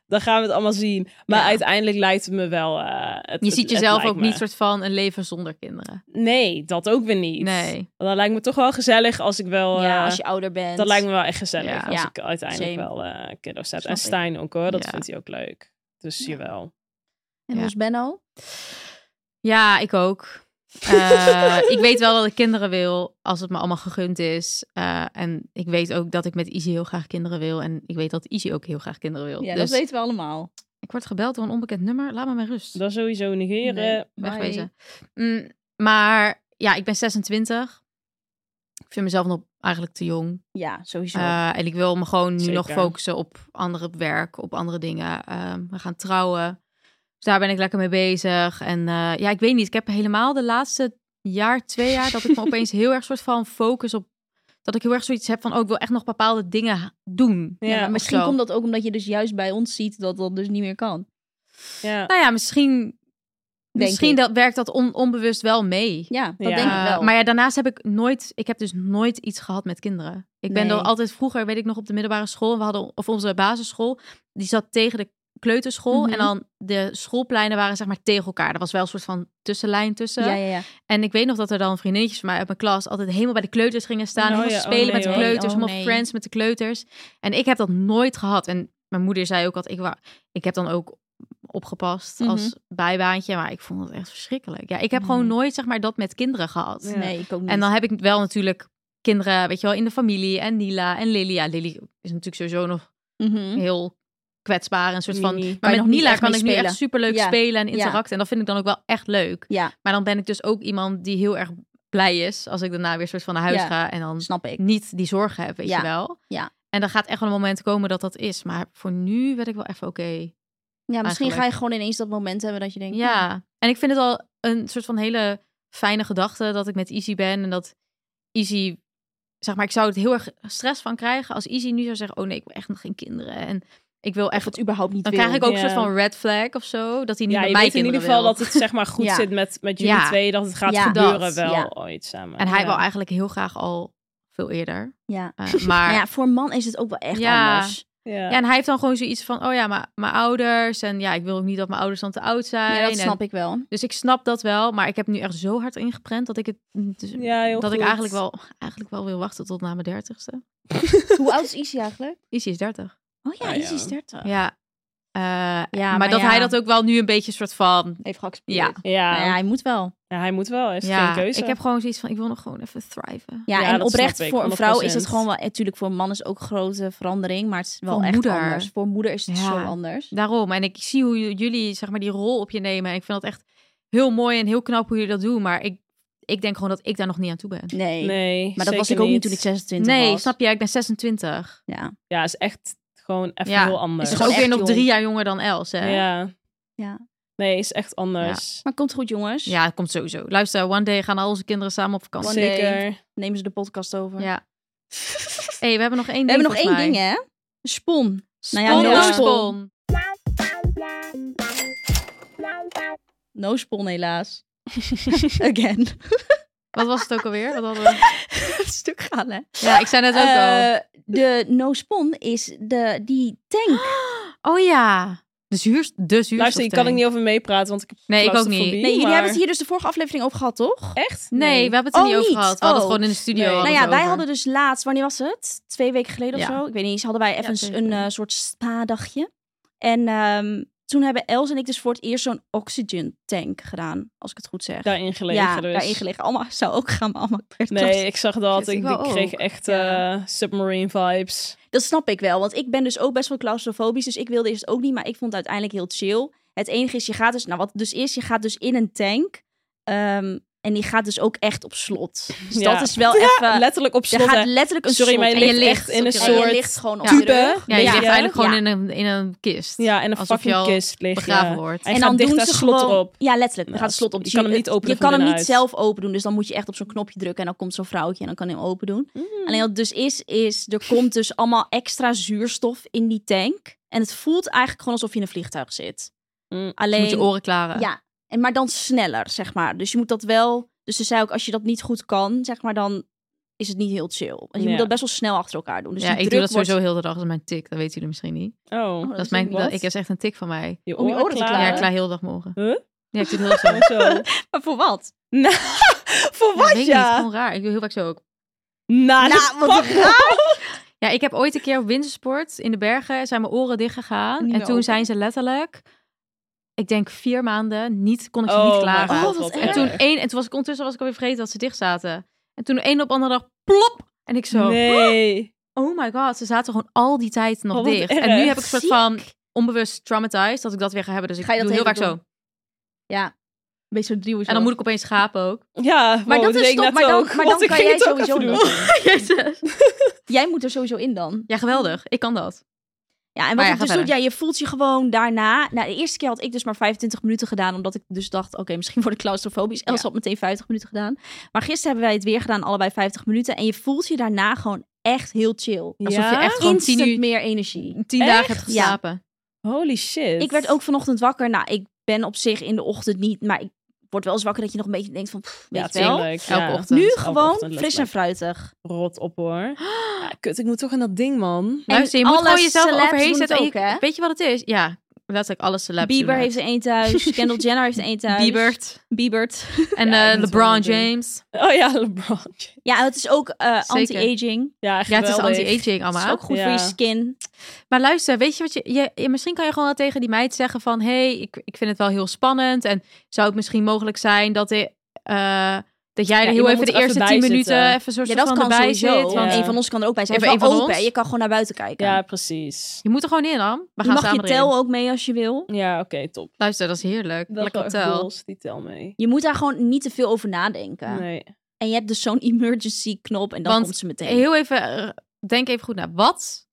S4: Dan gaan we het allemaal zien. Maar
S5: Ja.
S4: uiteindelijk lijkt het me wel. eh, het,
S5: Je
S4: het-
S5: ziet
S4: het
S5: jezelf
S4: lijkt
S5: ook
S4: me.
S5: niet soort van een leven zonder kinderen.
S4: Nee, dat ook weer niet.
S5: Nee.
S4: Want Dat lijkt me toch wel gezellig als ik wel.
S3: Ja,
S4: eh,
S3: als je ouder bent.
S4: Dat lijkt me wel echt gezellig
S5: Ja.
S4: als
S3: Ja,
S4: ik uiteindelijk
S3: same.
S4: wel eh kiddo's heb.
S3: Snap
S4: En
S3: ik.
S4: Stijn ook hoor, dat
S5: Ja.
S4: vindt hij ook leuk. Dus jawel.
S3: En hoe
S5: Ja.
S3: is Benno?
S5: Ja, ik ook. Eh, ik weet wel dat ik kinderen wil, als het me allemaal gegund is. Eh, en ik weet ook dat ik met Izzy heel graag kinderen wil. En ik weet dat Izzy ook heel graag kinderen wil. dus
S3: we allemaal.
S5: ik word gebeld door een onbekend nummer. Laat me maar rust.
S4: Dat sowieso negeren.
S5: Nee,
S4: Bye.
S5: wegwezen. Mm, maar ja, ik ben 26. Ik vind mezelf nog eigenlijk te jong.
S3: Ja, sowieso.
S5: Eh, en ik wil me gewoon nu nog
S4: Zeker.
S5: focussen op andere werk, op andere dingen. Ehm, we gaan trouwen. Dus daar ben ik lekker mee bezig. En eh, ja, ik weet niet. Ik heb helemaal de laatste jaar, twee jaar, dat ik me opeens heel erg soort van focus op. Dat ik heel erg zoiets heb van, oh, ik wil echt nog bepaalde dingen ha- doen.
S4: Ja,
S3: ja, maar
S4: of
S3: misschien
S5: zo.
S3: komt dat ook omdat je dus juist bij ons ziet dat dat dus niet meer kan.
S4: Ja.
S5: Nou ja, misschien,
S3: Denk
S5: misschien
S3: ik.
S5: dat, werkt dat on- onbewust wel mee.
S3: Ja, dat
S4: Ja.
S3: denk
S5: Eh,
S3: ik wel.
S5: maar ja, daarnaast heb ik nooit, ik heb dus nooit iets gehad met kinderen. Ik ben
S3: Nee.
S5: dan altijd vroeger, weet ik nog, op de middelbare school, we hadden, of onze basisschool, die zat tegen de kleuterschool.
S3: Mhm.
S5: En dan de schoolpleinen waren zeg maar tegen elkaar. Er was wel een soort van tussenlijn tussen.
S3: Ja, ja, ja.
S5: En ik weet nog dat er dan vriendinnetjes van mij uit mijn klas altijd helemaal bij de kleuters gingen staan.
S4: Oh,
S5: helemaal
S4: ja.
S5: te spelen
S4: Oh,
S5: met de
S4: nee,
S3: hoor.
S5: kleuters,
S3: Oh,
S5: helemaal
S3: nee.
S5: friends met de kleuters. En ik heb dat nooit gehad. En mijn moeder zei ook dat ik, wa- ik heb dan ook opgepast
S3: Mhm.
S5: als bijbaantje. Maar ik vond het echt verschrikkelijk. Ja, ik heb gewoon
S4: Mm.
S5: nooit zeg maar dat met kinderen gehad.
S4: Ja.
S3: Nee, ik ook niet.
S5: En dan heb ik wel natuurlijk kinderen, weet je wel, in de familie. En Nila en Lily. Ja, Lily is natuurlijk sowieso nog
S3: Mhm.
S5: heel kwetsbaar. En soort Dus van...
S4: Mini.
S5: Maar
S3: je
S5: met
S3: nog niet
S5: Nila
S3: echt
S5: kan
S3: mee
S5: ik nu echt
S3: spelen.
S5: superleuk
S3: Ja.
S5: spelen en
S3: Ja.
S5: interacten. En dat vind ik dan ook wel echt leuk.
S3: Ja,
S5: Maar dan ben ik dus ook iemand die heel erg blij is als ik daarna weer soort van naar huis
S3: Ja.
S5: ga en dan
S3: snap ik.
S5: niet die zorgen heb, weet
S3: Ja.
S5: je wel.
S3: Ja.
S5: En dan gaat echt wel een moment komen dat dat is. Maar voor nu ben ik wel even oké.
S3: Ja, misschien
S5: Eigenlijk.
S3: ga je gewoon ineens dat moment hebben dat je denkt... "Hmm,
S5: Ja. En ik vind het al een soort van hele fijne gedachte dat ik met Easy ben en dat Easy, zeg maar, ik zou het heel erg stress van krijgen als Easy nu zou zeggen, oh nee, ik wil echt nog geen kinderen en ik wil
S3: Echt
S5: echt.
S3: het überhaupt niet
S5: Dan
S3: wil.
S5: krijg ik ook
S4: ja.
S5: een soort van red flag of zo, dat hij niet
S4: Ja,
S5: bij
S4: je
S5: mij
S4: weet in ieder
S5: kinderen
S4: geval
S5: wil.
S4: dat het zeg maar goed
S3: Ja.
S4: zit met, met jullie
S5: Ja.
S4: twee. Dat het gaat
S3: Ja.
S4: gebeuren
S3: Dat,
S4: wel
S3: ja.
S4: ooit samen.
S5: En hij
S4: Ja.
S5: wil eigenlijk heel graag al veel eerder.
S3: Ja.
S5: Eh,
S3: Maar
S5: maar
S3: ja, voor een man is het ook wel echt
S5: Ja.
S3: anders.
S4: Ja.
S5: Ja, en hij heeft dan gewoon zoiets van, oh ja, maar mijn ouders. En ja, ik wil ook niet dat mijn ouders dan te oud zijn.
S3: Ja, dat
S5: En-
S3: snap ik wel.
S5: Dus ik snap dat wel, maar ik heb nu echt zo hard ingeprent dat ik het... dus-
S4: Ja, heel
S5: dat ik
S4: goed.
S5: eigenlijk wel, eigenlijk wel wil wachten tot na mijn dertigste.
S3: Hoe oud is Izzy eigenlijk?
S5: Izzy is dertig.
S3: Oh ja,
S4: Ah,
S3: Izzy is
S4: ja.
S3: 30.
S5: Ja. Eh, maar,
S3: maar
S5: dat
S3: ja.
S5: hij dat ook wel nu een beetje soort van...
S3: Heeft geaccepteerd.
S5: Ja.
S4: Ja.
S3: Nou ja, hij moet wel.
S4: Ja, hij moet wel. Er is
S5: ja,
S4: geen keuze.
S5: ik heb gewoon zoiets van, ik wil nog gewoon even thriven.
S3: Ja,
S4: Ja,
S3: en
S4: dat
S3: oprecht
S4: snap ik,
S3: voor een vrouw is het
S4: 100%.
S3: gewoon wel... Natuurlijk, voor een man is ook grote verandering. Maar het is wel
S5: Voor
S3: echt
S5: moeder.
S3: anders. Voor moeder is het
S5: Ja.
S3: zo anders.
S5: Daarom. En ik zie hoe jullie zeg maar die rol op je nemen. En ik vind dat echt heel mooi en heel knap hoe jullie dat doen. Maar ik, ik denk gewoon dat ik daar nog niet aan toe ben.
S3: Nee.
S4: Nee,
S3: Maar dat was ik
S4: zeker
S3: ook niet toen ik 26 was.
S5: nee, snap je? Ik ben 26.
S3: Ja.
S4: Ja, is echt gewoon even
S5: Ja,
S4: heel anders.
S5: Ze
S3: het
S5: is ook
S3: echt
S5: weer nog
S3: jong.
S5: drie jaar jonger dan Els, hè?
S4: Ja.
S3: Ja.
S4: Nee, is echt anders.
S3: Maar komt goed, jongens.
S5: Ja, het komt sowieso. Luister, one day gaan al onze kinderen samen op vakantie.
S3: One day.
S4: Zeker.
S3: Nemen ze de podcast over.
S5: Ja. hey, we hebben nog één
S3: We
S5: ding.
S3: hebben nog één ding, hè? Spon. Nou ja,
S4: Spon,
S3: no
S5: oh,
S4: ja.
S3: spon. No spon, helaas. Again.
S5: Wat was het ook alweer? Wat hadden we?
S3: Het stuk gaan, hè?
S5: Ja, ik zei net ook al.
S3: Eh, de no spon is de, die tank.
S5: Oh ja. De zuur, de zuurstoftank.
S4: Luister, ik kan ik niet over meepraten, want ik heb
S5: Nee, ik ook
S4: claustrofobie,
S5: niet. Nee,
S3: Nee, jullie
S4: maar-
S3: hebben het hier dus de vorige aflevering over gehad, toch?
S4: Echt?
S5: we hebben het er
S3: Oh,
S5: niet over
S3: niet.
S5: gehad. We hadden
S3: Oh.
S5: het gewoon in de studio.
S4: Nee.
S5: hadden
S3: Nou
S5: we
S3: ja,
S5: het
S3: wij
S5: over.
S3: hadden dus laatst, wanneer was het? Twee weken geleden of
S5: Ja.
S3: zo? Ik weet niet eens, hadden wij
S5: Ja,
S3: even
S5: zeker.
S3: een eh, soort spa-dagje. En ehm, toen hebben Els en ik dus voor het eerst zo'n oxygen tank gedaan, als ik het goed zeg.
S4: Daarin gelegen
S3: ja,
S4: dus.
S3: daarin gelegen. Allemaal zou ook gaan, maar allemaal per
S4: Nee, ik zag dat.
S5: Shit,
S4: Ik,
S5: ik wou
S4: ik kreeg
S5: ook.
S4: echt
S5: Ja.
S4: eh, submarine vibes.
S3: Dat snap ik wel, want ik ben dus ook best wel claustrofobisch, dus ik wilde eerst ook niet, maar ik vond het uiteindelijk heel chill. Het enige is, je gaat dus, nou wat het dus is, je gaat dus in een tank ehm, en die gaat dus ook echt op slot. Dus
S4: Ja.
S3: dat is wel even,
S4: Letterlijk op
S3: je
S4: slot.
S3: gaat
S4: hè.
S3: letterlijk een
S4: Sorry,
S3: slot.
S4: maar je
S3: en
S4: ligt,
S5: je ligt
S4: echt in een
S5: op je-
S3: En je
S4: soort...
S3: ligt gewoon op
S5: Ja.
S3: je
S4: tube.
S3: rug.
S5: Ja, je
S4: Ja.
S5: ligt eigenlijk gewoon
S3: Ja.
S5: in een, in een kist.
S4: Ja, en een
S5: Alsof je
S4: fucking
S5: al
S4: kist liggen.
S5: begraven wordt.
S4: En, dan dicht doen ze slot
S3: gewoon-
S4: erop.
S3: Ja, letterlijk. Dan
S4: Ja,
S3: gaat het slot op. Dus
S4: je kan hem niet openen
S3: Je
S4: van
S3: kan hem niet
S4: binnenuit.
S3: zelf open doen. Dus dan moet je echt op zo'n knopje drukken. En dan komt zo'n vrouwtje en dan kan hij hem open doen.
S4: Oh.
S3: Alleen wat het dus is, is er komt dus allemaal extra zuurstof in die tank. En het voelt eigenlijk gewoon alsof je in een vliegtuig zit.
S4: Mm.
S5: dus Je
S3: Alleen,
S5: moet je oren klaren.
S3: Ja, en, maar dan sneller, zeg maar. Dus je moet dat wel... Dus ze zei ook, als je dat niet goed kan, zeg maar, dan is het niet heel chill. Want je
S4: Ja.
S3: moet dat best wel snel achter elkaar doen. Dus
S5: ja,
S3: die
S5: ik doe
S3: druk
S5: dat
S3: wordt-
S5: sowieso heel de dag. Dat is mijn tik. Dat weten jullie misschien niet.
S4: Oh,
S5: Dat is mijn,
S4: wat?
S5: dat, ik heb echt een tik van mij.
S4: je
S3: om je
S4: oren,
S3: oren te
S4: klaar.
S5: Ja,
S3: klaren.
S5: ik klaar heel de dag morgen.
S4: Huh?
S5: Ja, ik doe het heel zo.
S4: Zo.
S3: Maar voor wat?
S4: Nou, voor
S5: Ja,
S4: wat
S5: weet ik niet,
S4: ja?
S5: gewoon raar. Ik doe heel vaak zo ook.
S4: Nou, dat is
S3: Nou, wat
S4: fucking-
S5: Ja, ik heb ooit een keer op wintersport in de bergen zijn mijn oren dicht gegaan.
S3: Niet
S5: en
S3: meer
S5: toen
S3: open.
S5: zijn ze letterlijk, ik denk vier maanden, niet, kon ik ze
S4: Oh
S5: niet
S4: my
S5: klaren.
S4: god,
S3: Oh, wat
S5: en
S3: erg.
S5: toen één, en toen was ik ondertussen was ik alweer vergeten dat ze dicht zaten. En toen één op andere dag, plop! En ik zo,
S4: Nee.
S5: oh my god, ze zaten gewoon al die tijd nog
S4: Oh, wat
S5: dicht.
S4: erg.
S5: En nu heb ik een soort van onbewust traumatized dat ik dat weer ga hebben. Dus ik
S3: Ga je dat
S5: doe heel vaak
S3: hele
S5: zo.
S3: Beetje zo'n driehoek.
S5: En dan moet ik Oh, opeens schapen ook.
S4: Ja,
S3: Maar dat is
S4: ik
S3: toch,
S4: net
S3: maar dan,
S4: ook,
S3: maar
S4: want
S3: dan
S4: ik
S3: kan
S4: ging
S3: jij
S4: het ook
S3: sowieso
S4: even doen.
S3: dat doen.
S5: Jezus.
S3: Jij moet er sowieso in dan.
S5: Ja, geweldig. Ik kan dat.
S3: Ja, en wat
S5: Maar ja,
S3: het
S5: ga
S3: dus doet, ja,
S5: verder.
S3: je voelt je gewoon daarna... Nou, de eerste keer had ik dus maar 25 minuten gedaan, omdat ik dus dacht, oké, misschien word ik claustrofobisch. Els
S5: Ja.
S3: had meteen 50 minuten gedaan. Maar gisteren hebben wij het weer gedaan, allebei 50 minuten. En je voelt je daarna gewoon echt heel chill.
S5: Alsof je
S4: Ja?
S5: echt gewoon tien,
S3: Instant
S5: uur-
S3: meer energie.
S5: tien
S4: Echt?
S5: dagen hebt
S3: Ja.
S5: geslapen.
S4: Holy shit.
S3: Ik werd ook vanochtend wakker. Nou, ik ben op zich in de ochtend niet, maar ik word wel eens wakker dat je nog een beetje denkt van, pff, weet
S4: ja,
S3: je wel.
S4: tuurlijk,
S5: Elke
S4: ja.
S5: ochtend.
S3: Nu
S5: Elke
S3: gewoon
S4: ochtend
S3: fris en
S4: letterlijk.
S3: fruitig.
S4: Rot op hoor. Ja, kut, ik moet toch in dat ding, man.
S3: En
S5: Luister, je moet
S3: alle
S5: gewoon jezelf
S3: celebs
S5: overheen
S3: doen het
S5: zetten. en je-
S3: ook, hè?
S5: weet je wat het is? Ja, Letterlijk alle celebs.
S3: Bieber
S5: doen
S3: heeft
S5: het.
S3: er één thuis. Kendall Jenner heeft er één thuis.
S5: Biebert.
S3: Biebert.
S5: En
S4: Ja,
S5: eh,
S4: ik moet wel
S5: LeBron
S4: doen.
S5: James.
S4: Oh ja, LeBron. James.
S3: Ja, het is ook eh, anti-aging.
S4: Ja,
S5: Ja, het is
S4: geweldig.
S5: anti-aging
S3: Het is
S5: allemaal.
S3: ook goed
S4: Ja.
S3: voor je skin.
S5: Maar luister, weet je wat je, je, je- Misschien kan je gewoon wel tegen die meid zeggen van... Hé, hey, ik, ik vind het wel heel spannend. En zou het misschien mogelijk zijn dat, ik, eh, dat jij er heel
S4: iemand
S5: even
S4: moet
S5: de
S4: er
S5: eerste
S4: even
S5: tien
S4: bij
S5: minuten
S4: zitten.
S5: even zo
S3: Ja,
S5: soort
S3: dat
S5: van
S3: kan
S5: erbij
S3: sowieso.
S5: zit.
S3: Want
S5: Want
S4: Ja.
S3: een van ons kan er ook bij zijn. Het
S5: Even
S3: is wel
S5: een van
S3: open.
S5: ons.
S3: Je kan gewoon naar buiten kijken.
S4: Ja, precies.
S5: Je moet er gewoon in, Ham. We
S3: Je
S5: gaan
S3: mag je
S5: samen erin.
S3: tel ook mee als je wil.
S4: Ja, oké, top.
S5: Luister, dat is heerlijk.
S4: Dat
S5: Lekker
S4: is wel echt
S5: tel.
S4: goals, die tel mee.
S3: Je moet daar gewoon niet te veel over nadenken.
S4: Nee.
S3: En je hebt dus zo'n emergency knop en dan
S5: Want
S3: komt ze meteen.
S5: Heel even, eh, denk even goed na. Wat,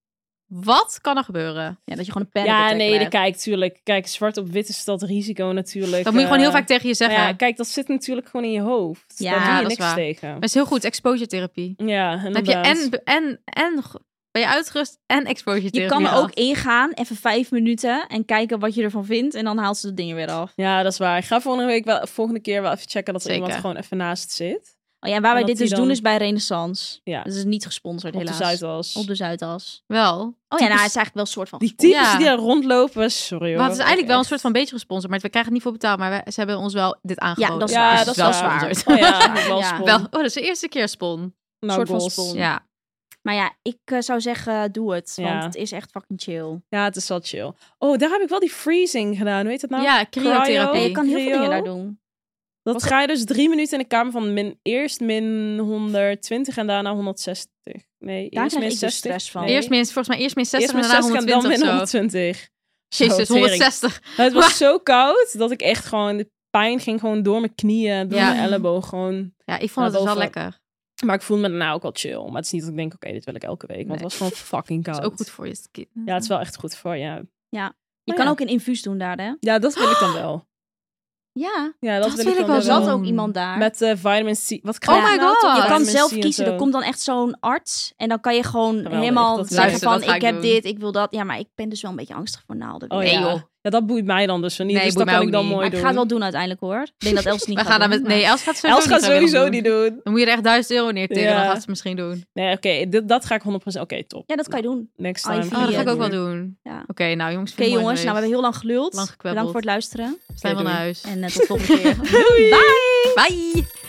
S5: wat kan er gebeuren?
S3: Ja, dat je gewoon een panic
S4: Ja,
S3: attack
S4: nee,
S3: krijgt.
S4: de kijk, tuurlijk. Kijk, zwart op wit is dat risico natuurlijk.
S5: Dat moet je gewoon heel
S4: eh,
S5: vaak tegen je zeggen.
S4: Ja, kijk, dat zit natuurlijk gewoon in je hoofd.
S3: Ja,
S4: Ja, Daar doe je
S5: dat is
S4: niks
S5: waar.
S4: tegen.
S5: Maar het is heel goed, exposure therapie.
S4: Ja,
S5: Dan heb je
S4: inderdaad.
S5: en, en, en g- ben je uitgerust en exposure therapie.
S3: Je kan er
S5: gehad.
S3: ook ingaan, even vijf minuten en kijken wat je ervan vindt. En dan haalt ze de dingen weer af.
S4: Ja, dat is waar. Ik ga volgende, week wel, volgende keer wel even checken dat er
S5: Zeker.
S4: iemand gewoon even naast zit.
S3: Oh ja, en waar wij
S4: dat
S3: dit
S4: die
S3: dus doen
S4: dan-
S3: is bij Renaissance.
S4: Ja.
S3: Dat is niet gesponsord,
S4: Op de
S3: helaas.
S4: Zuidas.
S3: Op de Zuidas.
S5: wel.
S3: Oh ja, nou, het is eigenlijk wel een soort van
S4: Die
S3: gesponsord.
S4: types
S5: Ja.
S4: die daar rondlopen, sorry hoor.
S5: Maar het is eigenlijk wel een
S4: Echt.
S5: soort van beetje gesponsord, maar we krijgen het niet voor betaald. Maar we, ze hebben ons wel dit aangeboden.
S3: dat is waar.
S4: Ja, dat
S5: Dus
S4: is
S5: het
S4: wel
S5: wel
S4: waar.
S5: gesponsord.
S4: Oh ja, wel
S3: Ja.
S4: spon.
S5: Wel, oh, dat is de eerste keer spon.
S4: Nou,
S3: soort van
S4: bos.
S3: spon.
S4: Ja.
S5: Ja.
S3: Maar ja, ik eh, zou zeggen, doe het. Want
S4: Ja.
S3: het is echt fucking chill.
S4: Ja, het is wel chill. Oh, daar heb ik wel die freezing gedaan. Hoe heet dat nou?
S5: ja,
S4: cryo.
S5: cryotherapie.
S3: Nee, je kan heel veel
S4: Rio?
S3: dingen daar doen.
S4: Dat ga je dus drie minuten in de kamer van min, eerst min 120 en daarna 160. Nee,
S3: Daar
S4: eerst
S3: krijg
S4: min
S3: ik dus
S4: 60.
S3: stress van.
S4: Nee.
S5: Eerst minst, volgens mij eerst min 60
S4: Eerst min
S5: en daarna
S4: 60 en dan
S5: 120
S4: min
S5: of zo.
S4: 120.
S5: Jezus,
S4: Zo, tering.
S5: 160.
S4: Het was zo koud dat ik echt gewoon... De pijn ging gewoon door mijn knieën, door
S5: Ja.
S4: mijn elleboog. Gewoon.
S5: Ja, ik vond
S4: Maar
S5: het dus wel
S4: boven-
S5: lekker.
S4: Maar ik voelde me daarna ook wel chill. Maar het is niet dat ik denk, oké, dit wil ik elke week. Want
S5: Nee.
S4: het was gewoon fucking
S5: Dat
S4: koud.
S5: is ook goed voor je skin.
S4: Ja, het is wel echt goed voor je.
S3: Je
S4: Oh
S3: kan
S4: ja.
S3: ook een infuus doen daar, hè?
S4: Ja, dat wil ik dan wel.
S3: Ja.
S4: Ja, dat, wil ik dan
S3: Er
S5: wel
S3: zat
S4: wel.
S5: doen.
S3: ook iemand daar.
S4: Met eh vitamin C. Wat
S5: Oh
S4: krijg je
S5: my
S4: nou
S5: god.
S4: toch?
S5: Je
S3: je
S5: Ah,
S3: kan
S4: Vitamin
S3: zelf
S4: C en
S3: kiezen.
S4: zo.
S3: Er komt dan echt zo'n arts. En dan kan je gewoon
S4: Geweldig,
S3: helemaal
S4: dat is
S3: zeggen
S5: echt- dat
S3: van...
S5: ga
S3: ik
S5: ik
S3: heb
S5: doen.
S3: dit, ik wil dat. Ja, maar ik ben dus wel een beetje angstig voor naalden.
S4: Oh,
S3: weet
S4: ja.
S3: je.
S5: Nee, joh.
S4: Ja, dat boeit mij dan dus weer niet.
S5: Nee,
S4: dus dat
S5: boeit mij
S4: kan ik
S5: ook
S4: dan
S5: niet.
S4: mooi
S3: Maar ik
S4: doen.
S3: ga het wel doen uiteindelijk, hoor. Ik denk dat Els niet
S5: We gaan daar
S3: doen,
S5: met... Nee, Els gaat sowieso
S4: Els gaat
S5: niet vrijwillig
S4: sowieso
S5: doen.
S4: niet doen.
S5: Dan moet je er echt 1000 euro neer tikken,
S4: Ja.
S5: dan gaat ze misschien doen.
S4: Nee, oké, dit- dat ga ik 100%. Oké, top.
S3: Ja, dat kan je doen.
S4: Next
S3: Ah, je
S4: time.
S3: vindt-
S5: Oh, dat
S3: Ja,
S5: ga ik ook wel
S4: doen.
S5: doen.
S3: Ja.
S5: Oké, nou jongens.
S3: Oké, jongens. Nou, we hebben heel lang geluld.
S5: Lang gekwebbeld.
S3: Bedankt voor het luisteren. eh,
S5: Zijn wel
S4: Oké,
S5: naar
S4: doei.
S5: huis.
S3: En eh, tot volgende keer.
S5: Bye!